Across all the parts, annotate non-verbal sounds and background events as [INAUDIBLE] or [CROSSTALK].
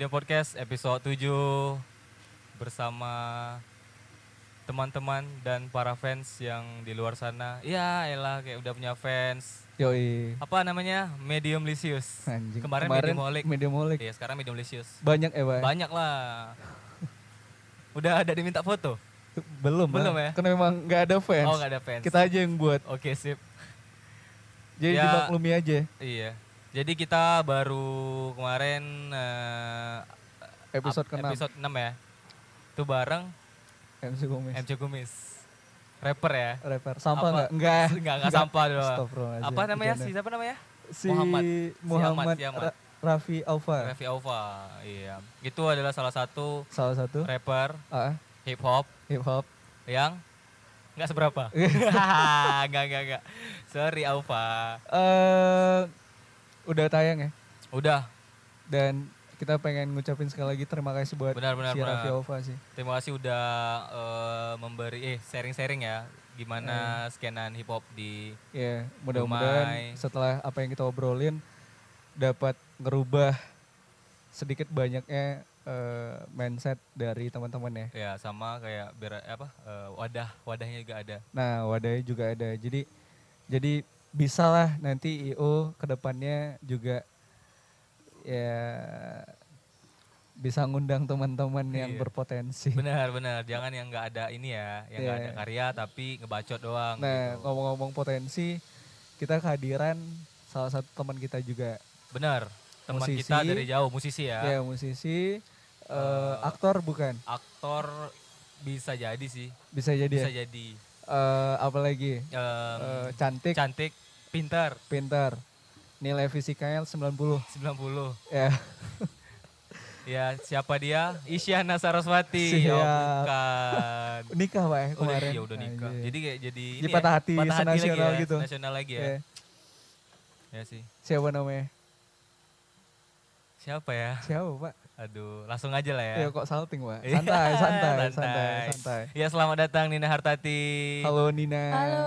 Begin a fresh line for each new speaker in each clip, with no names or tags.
Ya, Podcast episode 7 bersama teman-teman dan para fans yang di luar sana. Ya, elah kayak udah punya fans.
Yoi.
Apa namanya? Medium Lisius.
Anjing.
Kemarin, Medium Olik.
Medium Olik.
Iya, sekarang Medium Lisius.
Banyak eh, Bang.
Banyak lah. Udah ada diminta foto?
Belum,
Belum
Bang.
ya?
Karena memang nggak ada fans.
Oh, nggak ada fans.
Kita aja yang buat.
Oke, sip.
Jadi
Ya.
dimaklumi aja.
Iya. Jadi kita baru kemarin eh,
Episode
up-
ke-6.
Episode 6 ya. Itu bareng
MC Gomez.
MC Gumis. Rapper ya.
Rapper.
Apa?
Sampah Eh, nggak? Enggak.
Enggak, enggak sampah doang.
Astagfirullahaladzim.
Apa namanya
Bercanda.
sih? Siapa namanya?
Si
Muhammad.
Muhammad,
Si Ahmad, si Ahmad.
Ra- Raffi Alfa.
Raffi Alfa. Iya. Itu adalah salah satu
Salah satu.
rapper
Ah,
hip hop
hip hop.
yang nggak
[LAUGHS]
seberapa. Enggak, enggak, enggak. Sorry Alfa.
eh udah tayang ya.
Udah.
Dan kita pengen ngucapin sekali lagi terima kasih buat
Benar, benar,
si
benar.
Raffi Alfa sih.
Terima kasih udah eh, memberi eh sharing-sharing ya gimana
Eh.
skenan hip hop di
Ya, mudah-mudahan setelah apa yang kita obrolin dapat ngerubah sedikit banyaknya eh, mindset dari teman-teman ya.
ya sama kayak bera- apa eh, wadah wadahnya juga ada.
Nah, wadahnya juga ada. Jadi jadi bisalah nanti IO kedepannya juga ya bisa ngundang teman-teman yang berpotensi.
Benar, benar. Jangan yang nggak ada ini ya, yang nggak ada karya tapi ngebacot doang.
Iya. Nah, ngomong-ngomong potensi, kita kehadiran salah satu teman kita juga.
Benar. Teman kita
Musisi.
dari jauh musisi ya.
Ya, musisi, eh, aktor bukan?
Aktor bisa jadi sih.
Bisa jadi ya.
Bisa jadi
Eh, apalagi
em,
Eh, cantik,
cantik, pintar
pintar. Nilai fisikanya 90.
90.
Ya. [LAUGHS]
Ya, siapa dia? Isyana Saraswati.
Siap.
Oh, bukan.
nikah Pak ya
Udah,
[LAUGHS] kemarin.
ya udah nikah.
Anjir.
Jadi kayak jadi ya,
Jadi patah hati senasional
lagi ya,
gitu.
Nasional lagi ya.
Ya.
Ya sih.
Siapa namanya?
Siapa ya?
Siapa Pak?
Aduh, langsung aja lah ya.
Ya kok salting Pak? Santai, santai, santai, santai.
Eh, Ya, selamat datang Nina Hartati.
Halo Nina.
Halo.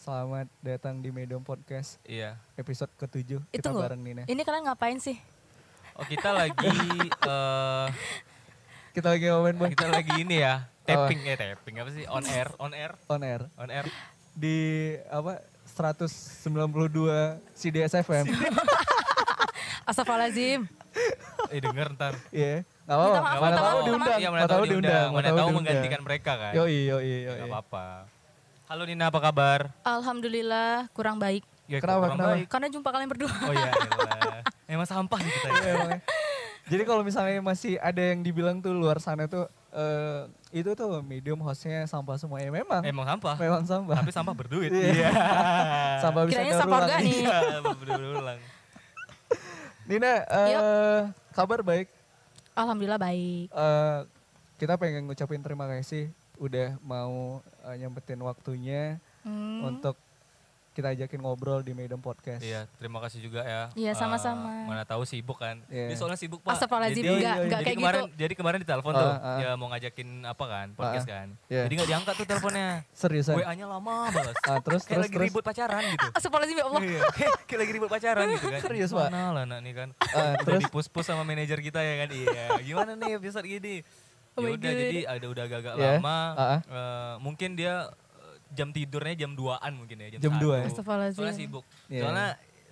Selamat datang di Medium Podcast
Iya.
episode ke-7.
Itu
Kita
loh.
bareng Nina.
Ini kalian ngapain sih?
Oh, kita
[LAUGHS]
lagi eh
Kita lagi ngomongin Bang,
kita lagi ini ya, tapping ya, tapping apa sih? On air, on air,
on air
on air.
di apa 192 CDSFM.
Astagfirullahaladzim.
Eh, denger ntar.
Iya. Gak apa-apa.
Minta maaf,
Mana
minta
tahu
maaf, minta
diundang.
Iya,
Mana tahu diundang.
Mana tahu menggantikan mereka kan.
Yo yo yo
Gak apa-apa. Halo Nina, apa kabar?
Alhamdulillah kurang baik.
Ya,
Kenapa,
kurang
kenapa?
baik.
Karena jumpa kalian berdua.
Oh iya, elah. emang sampah sih
Iya,
kita. ya.
Jadi kalau misalnya masih ada yang dibilang tuh luar sana tuh eh, itu tuh medium hostnya sampah semua ya memang
Emang sampah,
memang sampah
tapi sampah berduit. Iya.
sampah bisa
Kiranya
daur
sampah
ulang.
organik.
Iya, [LAUGHS] berdulang.
Nina eh, kabar baik
Alhamdulillah baik.
Eh, kita pengen ngucapin terima kasih udah mau eh, nyempetin waktunya
Hmm,
untuk kita ajakin ngobrol di Medium Podcast
Iya, terima kasih juga ya. Eh,
Iya, sama-sama.
mana tahu sibuk kan.
Iya.
Dia soalnya sibuk, Pak.
Astagfirullahaladzim,
Jadi-
enggak, enggak
jadi
kayak
kemarin,
gitu.
Jadi kemarin ditelepon tuh,
Ah, ah.
ya mau ngajakin apa kan, podcast
Ah,
kan.
Iya.
Jadi nggak diangkat tuh teleponnya.
seriusan
WA-nya lama banget.
Ah, terus
kayak
terus
lagi
terus
ribut pacaran gitu.
Astagfirullahaladzim ya
[LAUGHS]
Allah.
Iya, kayak, kayak lagi ribut pacaran gitu kan.
Serius, Pak?
Mana lah anak nih kan.
Eh,
Terus
terus
dipus-pus sama manajer kita ya kan. Iya, gimana nih episode gini? Ya
Oh my
udah
God.
jadi ada udah agak-agak
Iya,
lama.
ah, ah.
Eh, mungkin dia eh, jam tidurnya jam 2-an mungkin ya, jam,
Jam 2 ya?
satu.
Astagfirullahaladzim.
Soalnya sibuk.
Iya.
Soalnya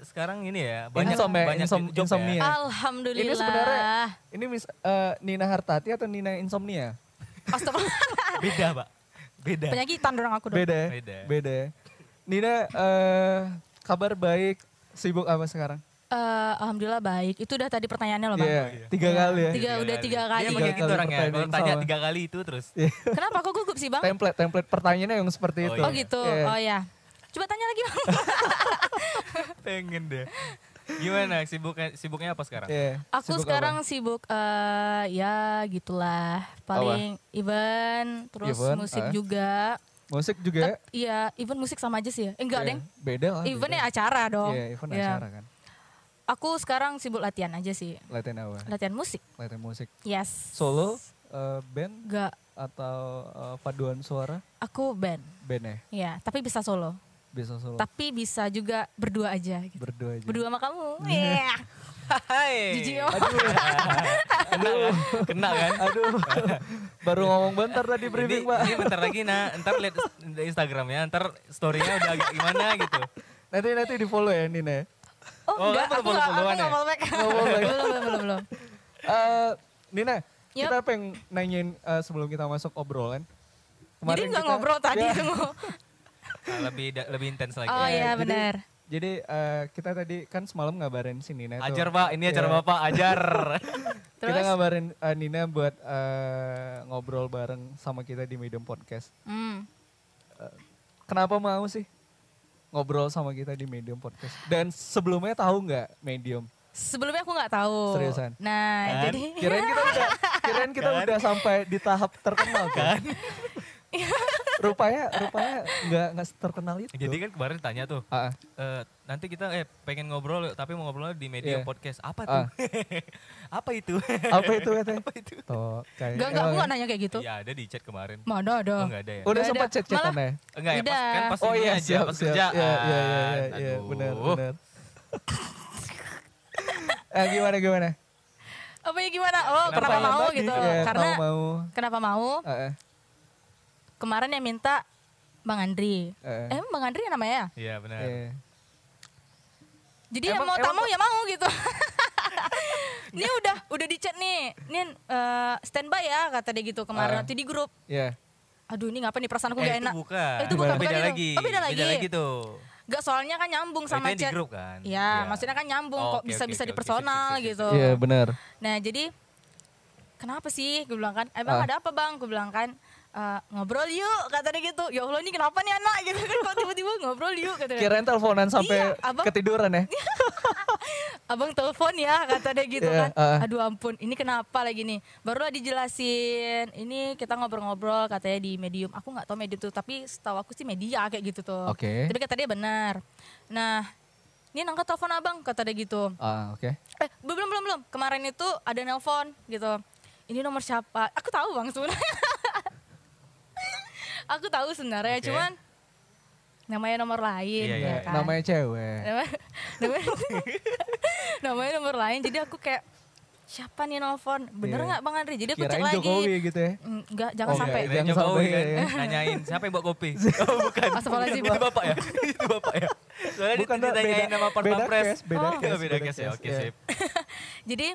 sekarang ini ya banyak
Insom ya,
banyak
insom-
job
insomnia.
ya.
Alhamdulillah.
Ini sebenarnya- ini mis- eh, Nina Hartati atau Nina Insomnia
Astagfirullah.
ya. Beda, Pak. Beda.
Penyakitan dong aku dong.
beda ya?
Beda.
beda ya. Nina eh, kabar baik sibuk apa sekarang
Eh, Alhamdulillah baik. Itu udah tadi pertanyaannya loh Bang.
Iya, tiga kali ya
Tiga, udah tiga kali.
Dia emang kayak
Tiga
gitu
kali
orangnya. Kalau
pertanyaan Iya.
tanya
sama.
tiga kali itu terus.
Kenapa aku gugup sih Bang?
template template pertanyaannya yang seperti
Oh,
itu
Oh gitu.
Iya.
Oh ya. Coba tanya lagi
[LAUGHS]
Bang.
Pengen deh. Gimana sibuknya sibuknya apa sekarang?
Iya.
Aku
Sibuk apa?
sekarang sibuk eh ya gitulah paling event terus
Event,
musik
ah.
juga.
musik juga
Iya, event musik sama aja sih ya. Eh, Enggak,
Iya.
Deng.
beda lah
Eventnya acara dong.
Iya, event
Iya.
acara kan.
Aku sekarang sibuk latihan aja sih.
Latihan apa?
Latihan musik.
Latihan musik.
Yes.
Solo, eh, band,
Enggak,
atau eh, paduan suara?
aku band.
Band ya?
Iya, tapi bisa solo.
Bisa solo.
Tapi bisa juga berdua aja gitu.
Oh. Berdua aja.
Berdua sama kamu. Iya.
Hai.
Jijik, oh.
Kena kan? Kena kan?
Aduh, [LAUGHS] baru ngomong bentar tadi
Ini,
briefing pak.
ini bentar lagi nah, ntar lihat Instagram ya, ntar story-nya udah agak gimana gitu.
Nanti nanti di follow ya Nina.
Oh,
Oh,
enggak,
kamu
aku enggak, aku
follow-followan
enggak
ya?
follow back. [LAUGHS] belum, belum, belum, belum.
Eh, Nina,
Yup.
kita pengen nanyain eh, sebelum kita masuk obrolan.
Jadi
Kemarin
enggak
kita-
ngobrol tadi
Ya,
semua.
Nah, lebih da- lebih intens lagi.
Oh iya
jadi-
benar.
Jadi eh, kita tadi kan semalam ngabarin si Nina. tuh.
Ajar Pak, ini acara
Ya.
Bapak,
[LAUGHS]
ajar.
Kita
Terus?
ngabarin eh, Nina buat eh, ngobrol bareng sama kita di Medium Podcast.
Hmm.
Kenapa mau sih ngobrol sama kita di Medium Podcast? Dan sebelumnya tahu nggak Medium?
Sebelumnya aku nggak tahu.
Seriusan? Eh,
Nah,
Kan?
jadi
Kirain kita udah, kirain kita
Kan?
udah sampai di tahap terkenal kan? rupanya rupanya nggak nggak terkenal itu.
Jadi kan kemarin tanya tuh,
Ah, ah.
eh, nanti kita eh pengen ngobrol tapi mau ngobrol di media
Iya.
podcast. Apa tuh? [LAUGHS] Apa itu?
apa itu katanya? Apa itu? Toh, kayak
enggak enggak aku nggak nanya kayak gitu.
Iya, ada di chat kemarin.
Mana
Oh,
ada.
enggak ada ya?
Udah
Nggak
sempat
ada.
chat-chatan ya?
Enggak ya, pas,
Udah.
kan pas
Oh
ini
iya,
aja,
siap,
pas
siap.
kerjaan.
Iya, iya, iya, iya, iya,
Aduh.
benar, benar. [LAUGHS] Eh, gimana, gimana?
Apa ya gimana? Oh, kenapa,
Pertanyaan
mau
tadi,
gitu?
ya,
Karena
tahu mau.
kenapa mau?
Eh, eh,
Kemarin yang minta Bang Andri.
eh,
Eh, Bang Andri namanya ya?
Iya, benar.
eh.
Jadi yang
Emang-
mau tak
emang-
mau ya mau
[LAUGHS]
gitu. [LAUGHS] Ini udah udah di chat nih. Nin eh, standby ya kata dia gitu
Ah.
kemarin waktu di grup.
Iya.
Aduh, ini ngapa nih perasaan aku
Eh,
gak
itu
enak.
bukan.
Eh, itu bukan,
beda
bukan itu.
lagi.
Oh, beda lagi.
tuh.
Gak soalnya kan nyambung
Sama itu
sama
yang
chat.
di grup kan?
Ya, maksudnya kan nyambung
Oh,
kok
oke,
bisa
oke,
bisa
oke,
di
oke,
personal
sip, sip, sip,
gitu.
Iya, benar.
Nah, jadi kenapa sih gue bilang kan, "Emang
Ah.
ada apa, Bang?" Gue bilang kan, "Eh, ngobrol yuk katanya gitu ya Allah ini kenapa nih anak [LAUGHS] gitu kan kok tiba-tiba ngobrol yuk katanya
Kirain teleponan sampai
Iya, abang-
ketiduran ya?
[LAUGHS] abang telepon ya katanya gitu
Iya,
kan
ah.
aduh ampun ini kenapa lagi nih barulah dijelasin ini kita ngobrol-ngobrol katanya di medium aku nggak tahu medium tuh tapi setahu aku sih media kayak gitu tuh
Oke.
tapi kata dia benar nah ini angkat telepon abang kata dia gitu
Ah, oke.
Eh, belum belum belum. Kemarin itu ada nelpon gitu. Ini nomor siapa? Aku tahu Bang sebenarnya. [LAUGHS] aku tahu sebenarnya,
Oke.
cuman namanya nomor lain
Iya,
ya
iya.
kan.
Eh, Namanya cewek.
Nama- [LAUGHS] namanya, namanya nomor lain. Jadi aku kayak siapa nih nelpon? Bener
Iya.
nggak Bang Andri? Jadi aku
Kirain
cek lagi.
Jokowi gitu ya.
Mm, Enggak, jangan
Oh,
sampai.
enggak,
Jangan
Jangan
Jokowi
sampai,
kan
iya,
nanyain siapa yang bawa kopi. Oh bukan.
Astagfirullahaladzim.
Itu bapak ya? [LAUGHS] Itu bapak ya? Soalnya
Bukan,
Bukan
Mbak,
ditanyain
beda-
nama Pak
beda
Pres.
case, beda
Oh,
case,
beda
beda
case ya.
case,
Oke,
iya.
sip.
[LAUGHS] Jadi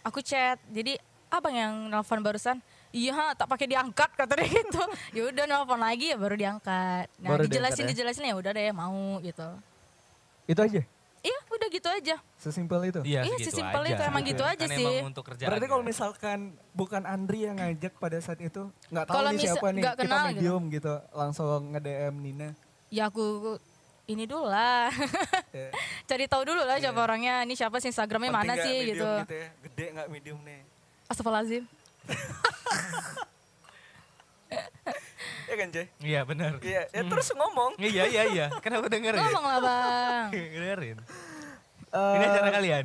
aku chat. Jadi abang yang nelpon barusan. Iya, tak pakai diangkat kata dia [LAUGHS] gitu. ya udah nelpon lagi ya baru diangkat. Nah,
Baru
dijelasin
diangkat ya.
dijelasin ya udah deh mau gitu.
Itu aja.
Iya, udah gitu aja.
Sesimpel itu.
Iya,
Iya,
segitu
sesimpel itu,
aja.
emang gitu
Kan
aja
Emang
sih.
untuk kerjaan.
Berarti kalau
kan?
misalkan bukan Andri yang ngajak pada saat itu, nggak tahu
Kalau
nih
misa-
siapa nih,
nggak kenal
kita medium gitu, langsung nge-DM Nina.
Ya aku ini dulu lah.
Ya,
[LAUGHS] Cari tahu dulu lah siapa orangnya, ini siapa sih Instagramnya
penting
mana
nggak
sih
medium
gitu.
ya. Gede nggak medium nih?
Astagfirullahaladzim.
Ya kan Jay?
Iya, benar.
Iya, ya
Hmm.
terus
[LAUGHS]
ngomong.
Iya, iya, iya. Kan aku dengerin.
Ngomong lah Bang.
[LAUGHS] dengerin.
Eh,
Ini acara kalian.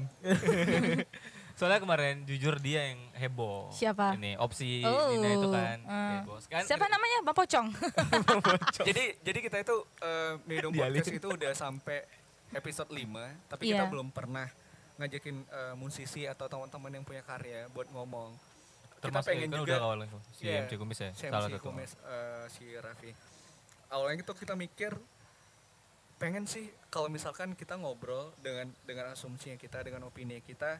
[LAUGHS] Soalnya kemarin jujur dia yang heboh.
Siapa?
Ini opsi
Oh.
Nina itu kan
eh.
heboh. Kan
Siapa namanya? Bang Pocong.
jadi jadi kita itu eh, medium
Dialih.
podcast itu udah sampai episode 5, tapi kita
Iya.
belum pernah ngajakin eh, musisi atau teman-teman yang punya karya buat ngomong.
termasuk
pengen
kan
juga-
udah awalnya tuh, si
Iya,
MC Kumis ya.
si MC
salah satu.
Gomez, eh, si Raffi. Awalnya itu kita mikir pengen sih kalau misalkan kita ngobrol dengan dengan asumsinya kita dengan opini kita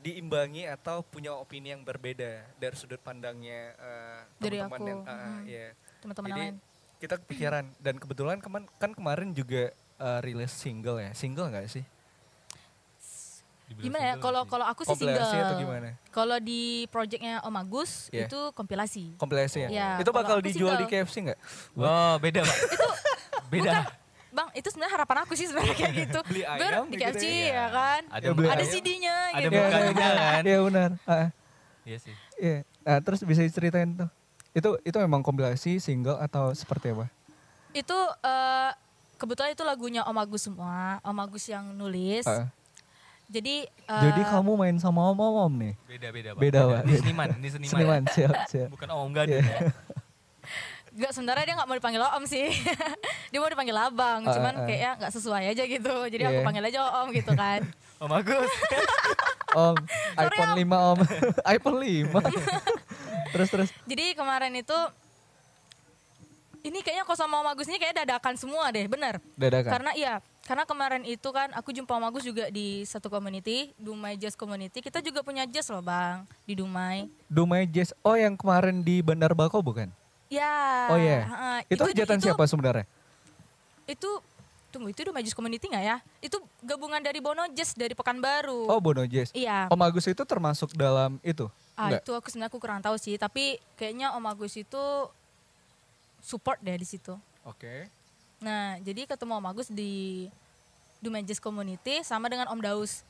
diimbangi atau punya opini yang berbeda dari sudut pandangnya eh,
Dari
teman-teman
aku,
yang ah,
hmm.
iya.
Teman-teman
Jadi
lain.
kita kepikiran dan kebetulan keman, kan kemarin juga eh, rilis single ya single nggak sih
Dibilang
Gimana ya?
single
Kalau
sih.
kalau aku sih single.
Kompilasi atau gimana?
Kalau di projectnya Om Agus
Iya.
itu kompilasi.
kompilasi
Iya,
ya, itu
kalau
bakal
aku
dijual di
single.
KFC nggak
Oh, beda,
[LAUGHS]
Pak. itu beda.
Bang, itu sebenarnya harapan aku sih sebenarnya kayak gitu.
Beli
Ber
ayam
di
gitu
KFC
ya.
ya kan.
Ada
Ya, beli
Ada
ayam.
CD-nya
Ada
gitu.
Iya,
[LAUGHS]
bukan
iya,
juga
benar.
kan?
Iya, benar. Ah, ah.
Iya sih.
Iya. Nah, terus bisa diceritain tuh. Itu itu memang kompilasi single atau seperti apa?
Itu eh, kebetulan itu lagunya Om Agus semua, Om Agus yang nulis.
Ah.
Jadi eh,
Jadi kamu main sama om-om nih.
Beda-beda, Pak.
Beda, Pak.
Iya, Ini seniman, ini seniman. ya.
Seniman, iya. siap, siap.
Bukan Om Gadun ya.
Enggak, sebenarnya dia nggak mau dipanggil Om sih. [LAUGHS] dia mau dipanggil Abang,
Ah,
cuman
ah, ah.
kayaknya nggak sesuai aja gitu. Jadi aku
Iya.
panggil aja Om gitu kan.
Om
[LAUGHS]
Agus.
Om,
Sorry,
iPhone 5 om. [LAUGHS] iPhone
[LAUGHS]
5. terus terus.
Jadi kemarin itu ini kayaknya aku sama Om Agus ini kayak dadakan semua deh, bener.
Dadakan.
Karena iya, karena kemarin itu kan aku jumpa Om Agus juga di satu community, Dumai Jazz Community. Kita juga punya jazz loh Bang, di Dumai.
Dumai Jazz. Oh yang kemarin di Bandar Bako bukan?
Ya.
Oh iya.
heeh.
Itu hajatan siapa sebenarnya?
Itu tunggu itu Dumai Jazz Community nggak ya? Itu gabungan dari Bono Jazz dari Pekanbaru.
Oh Bono Jazz.
Iya.
Om Agus itu termasuk dalam itu?
Ah,
Enggak.
itu aku sebenarnya aku kurang tahu sih, tapi kayaknya Om Agus itu support deh di situ.
Oke.
Nah, jadi ketemu Om Agus di Dumages Community sama dengan Om Daus.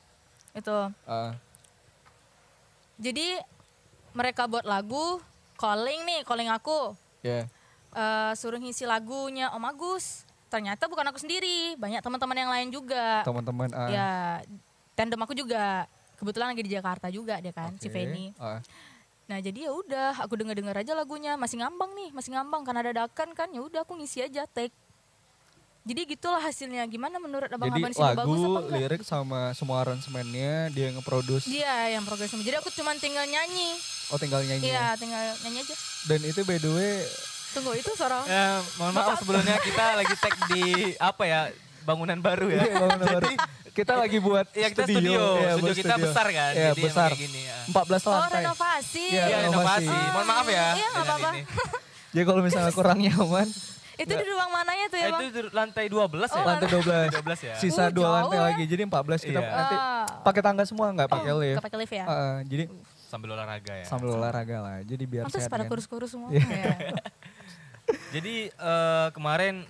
Itu.
Ah,
Jadi mereka buat lagu calling nih, calling aku.
ya.
Eh, suruh ngisi lagunya Om Agus. Ternyata bukan aku sendiri, banyak teman-teman yang lain juga.
Teman-teman. ah,
Ya, tandem aku juga. Kebetulan lagi di Jakarta juga dia kan, si
oke.
Feni.
Ah,
Nah jadi ya udah aku denger dengar aja lagunya masih ngambang nih masih ngambang karena dadakan kan ya udah aku ngisi aja take. Jadi gitulah hasilnya gimana menurut abang
Jadi
abang di sini
lagu,
bagus apa enggak? Iya.
lirik sama semua aransemennya dia yang nge-produce.
Dia yang progresnya. Jadi aku cuman tinggal nyanyi.
Hmm.
Oh tinggal nyanyi.
Iya tinggal nyanyi aja.
Dan itu by the way
Tunggu itu suara.
Eh, mohon maaf sebelumnya kita lagi tag di apa ya bangunan baru ya.
Iya,
[LAUGHS]
bangunan baru. kita lagi buat
Iya kita studio,
studio.
studio,
Iya, buat
kita besar kan,
Iya,
jadi emang
besar.
kayak gini. ya.
14
Oh
lantai.
renovasi.
Iya,
Iya
renovasi.
inovasi, mohon maaf ya.
Iya, nggak
dengan
apa-apa.
ini.
Jadi kalau misalnya kurang nyaman,
[LAUGHS] Oh, Itu di ruang mananya tuh
Eh,
ya
itu
bang? Oh,
di lantai 12 ya?
lantai
12
12.
ya.
Sisa
Uh,
dua
jauh
lantai
ya.
lagi, jadi 14 kita
Iya.
nanti
Ah.
pakai tangga semua nggak pakai
Oh,
lift.
nggak pakai lift ya?
Ah, ah, jadi
Sambil olahraga ya.
sambil olahraga lah, jadi biar
Pantes
sehat.
pada
kan.
kurus-kurus semua.
Iya.
Iya.
Jadi eh, kemarin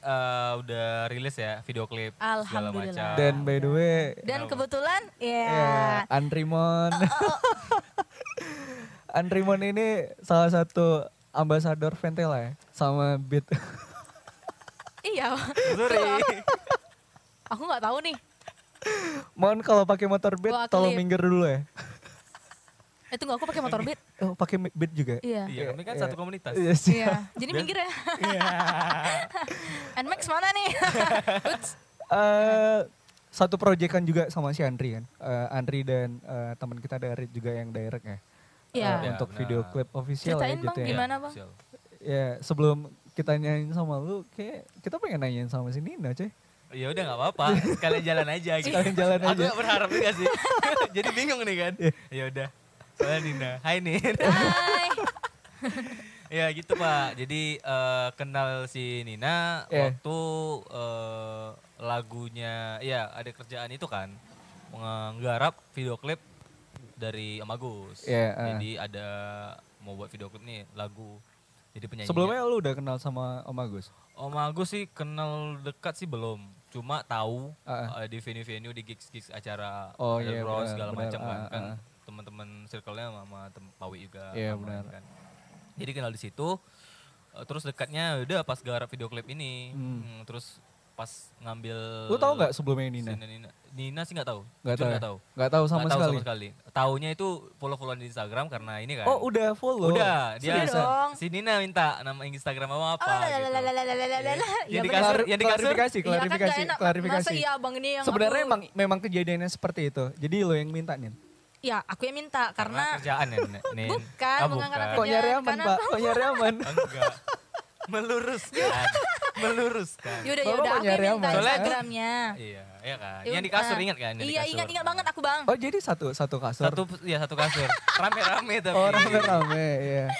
eh, udah rilis ya video klip segala
Alhamdulillah.
macam.
Dan by
Iya.
the way,
Dan kebetulan ya
Iya.
ya, Andrimon.
Oh,
[LAUGHS] Andrimon ini salah satu ambasador Ventela ya, sama Beat.
iya.
Sorry.
Aku nggak tahu nih.
[LAUGHS] Mohon kalau pakai motor Beat,
Wah,
tolong
klip.
minggir dulu ya.
Eh tunggu aku pakai motor beat.
Oh, pakai Beat juga.
Iya.
Iya, kami kan
Iya.
satu komunitas.
Iya sih.
Iya, jadi minggir ya. [LAUGHS] Nmax mana nih? Uts.
eh satu proyekan juga sama si Andri kan. Eh, Andri dan eh, teman kita dari juga yang direct ya.
Iya.
Eh, untuk
benar.
video klip official ya
Ceritain
gitu
Bang,
ya.
gimana bang?
Sial.
Ya, sebelum kita nyanyiin sama lu, kayak kita pengen nanyain sama si Nina, cuy.
Ya udah nggak apa-apa, sekalian jalan aja gitu.
Sekalian jalan
Aku
aja. Iya.
nggak berharap juga
[LAUGHS]
sih. Jadi bingung nih kan. Ya udah. Soalnya Nina. Hai Nina.
Hai.
[LAUGHS] ya gitu Pak. Jadi eh, kenal si Nina
Iya.
waktu eh, lagunya ya ada kerjaan itu kan menggarap video klip dari Om Agus.
Iya, eh.
Jadi ada mau buat video klip nih lagu. Jadi penyanyi.
Sebelumnya lu udah kenal sama Om Agus?
Om Agus sih kenal dekat sih belum. Cuma tahu
Ah,
eh, di venue-venue di gigs-gigs acara
Oh,
Red
iya,
Rose,
benar,
segala
benar,
macam kan.
ah,
kan
ah.
teman-teman circle-nya sama- sama tem- Pawi juga.
Iya,
sama
benar.
ini kan. Jadi kenal di situ. eh, terus dekatnya udah pas garap video klip ini. Hmm, terus pas ngambil
Lu tahu nggak sebelumnya
Eh, si
Nina?
Nina? Nina sih nggak tahu.
Nggak
Jujur
tahu. ya?
Nggak tahu.
Nggak tahu sama
Nggak tahu
sekali.
sama sekali. Taunya itu follow-followan di Instagram karena ini kan.
Oh, udah ya? follow.
Udah, dia
Sudah dong.
si Nina minta nama Instagram abang
Oh,
apa gitu.
Lalalalalalalalala.
Yang
Ya
di
bener.
kasur,
Klari-
yang di kasur.
klarifikasi,
Iya, kan
klarifikasi,
nggak enak.
klarifikasi.
Masa iya abang ini yang
Sebenarnya
aku-
emang memang kejadiannya seperti itu. Jadi lu yang minta, Nin.
Iya.
Ya aku yang minta karena
kerjaan ya,
[LAUGHS]
Nen. Nen.
Bukan,
Ah,
bukan karena
bukan.
Kok
Iya,
nyari aman,
karena-
Pak? Kok nyari
[LAUGHS]
aman?
Enggak.
[LAUGHS]
Meluruskan. Meluruskan.
yaudah
Bapak
yaudah
mau
ya aku yang
nyari
minta
aman.
Soalnya-
Instagramnya.
Iya, iya kan.
Ya
Yang di
udah.
kasur ingat kan? yang di
Iya
kasur.
ingat ingat banget aku bang. Iya,
Oh, jadi satu satu kasur.
Satu ya satu kasur. Rame-rame tapi.
Oh rame-rame ya.
[LAUGHS]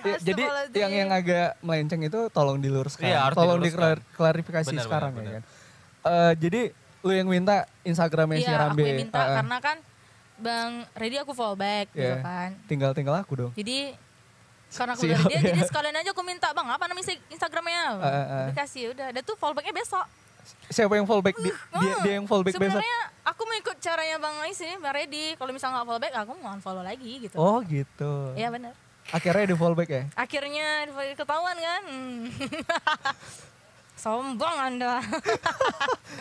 Ya, jadi
Astagfirullahaladzim.
yang yang agak melenceng itu tolong diluruskan,
Iya, harus
tolong
diluruskan.
diklarifikasi
Benar,
sekarang
benar,
ya kan. Eh, jadi lu yang minta Instagramnya si
Iya aku
Rambe,
yang minta
Ah, ah.
karena kan bang ready aku follow back gitu
Iya.
kan.
tinggal-tinggal aku dong.
Jadi karena aku
Siap,
dari dia,
ya.
jadi sekalian aja aku minta bang apa nama Insta- Instagramnya,
Eh, eh, eh.
dikasih ya udah, dan tuh fallbacknya besok.
Siapa yang fallback? Di- dia, dia yang fallback besok.
Sebenarnya aku mengikut caranya bang Ais ini, bang Reddy. Kalau misalnya nggak fallback, aku mau unfollow lagi gitu.
Oh gitu.
Iya benar.
Akhirnya di fallback ya.
Akhirnya ketahuan kan. Hmm. [LAUGHS] Sombong
[LAUGHS]
anda.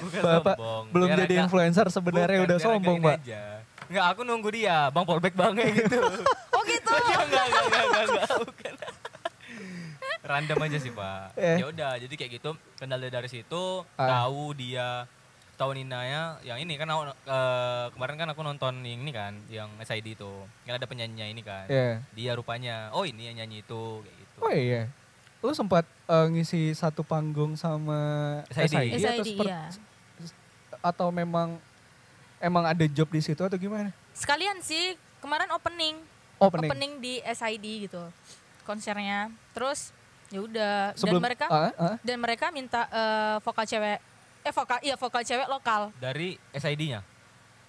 Bukan
Bapak
sombong.
belum
Biar
jadi
agak-
influencer sebenarnya
bukan,
udah
biar
sombong,
agak
Pak.
ini aja. Enggak, aku nunggu dia. Bang polback bang kayak gitu.
[LAUGHS] oh gitu.
enggak, enggak, enggak, enggak, enggak, bukan. Random aja sih, Pak.
Eh.
Ya udah, jadi kayak gitu, kendala dari situ,
Ah.
tahu dia tahun Inaya yang ini kan aku- eh, kemarin kan aku nonton yang ini kan yang SID itu kan ada penyanyinya ini kan
Iya.
dia rupanya oh ini yang nyanyi itu kayak gitu
Oh iya. Lu sempat eh, ngisi satu panggung sama
SID.
SID, atau,
SID,
seper-
iya.
atau memang emang ada job di situ atau gimana?
Sekalian sih kemarin opening,
Opening.
di SID gitu konsernya. Terus ya udah dan mereka
Ah, ah.
dan mereka minta eh, vokal cewek eh vokal iya vokal cewek lokal
dari SID-nya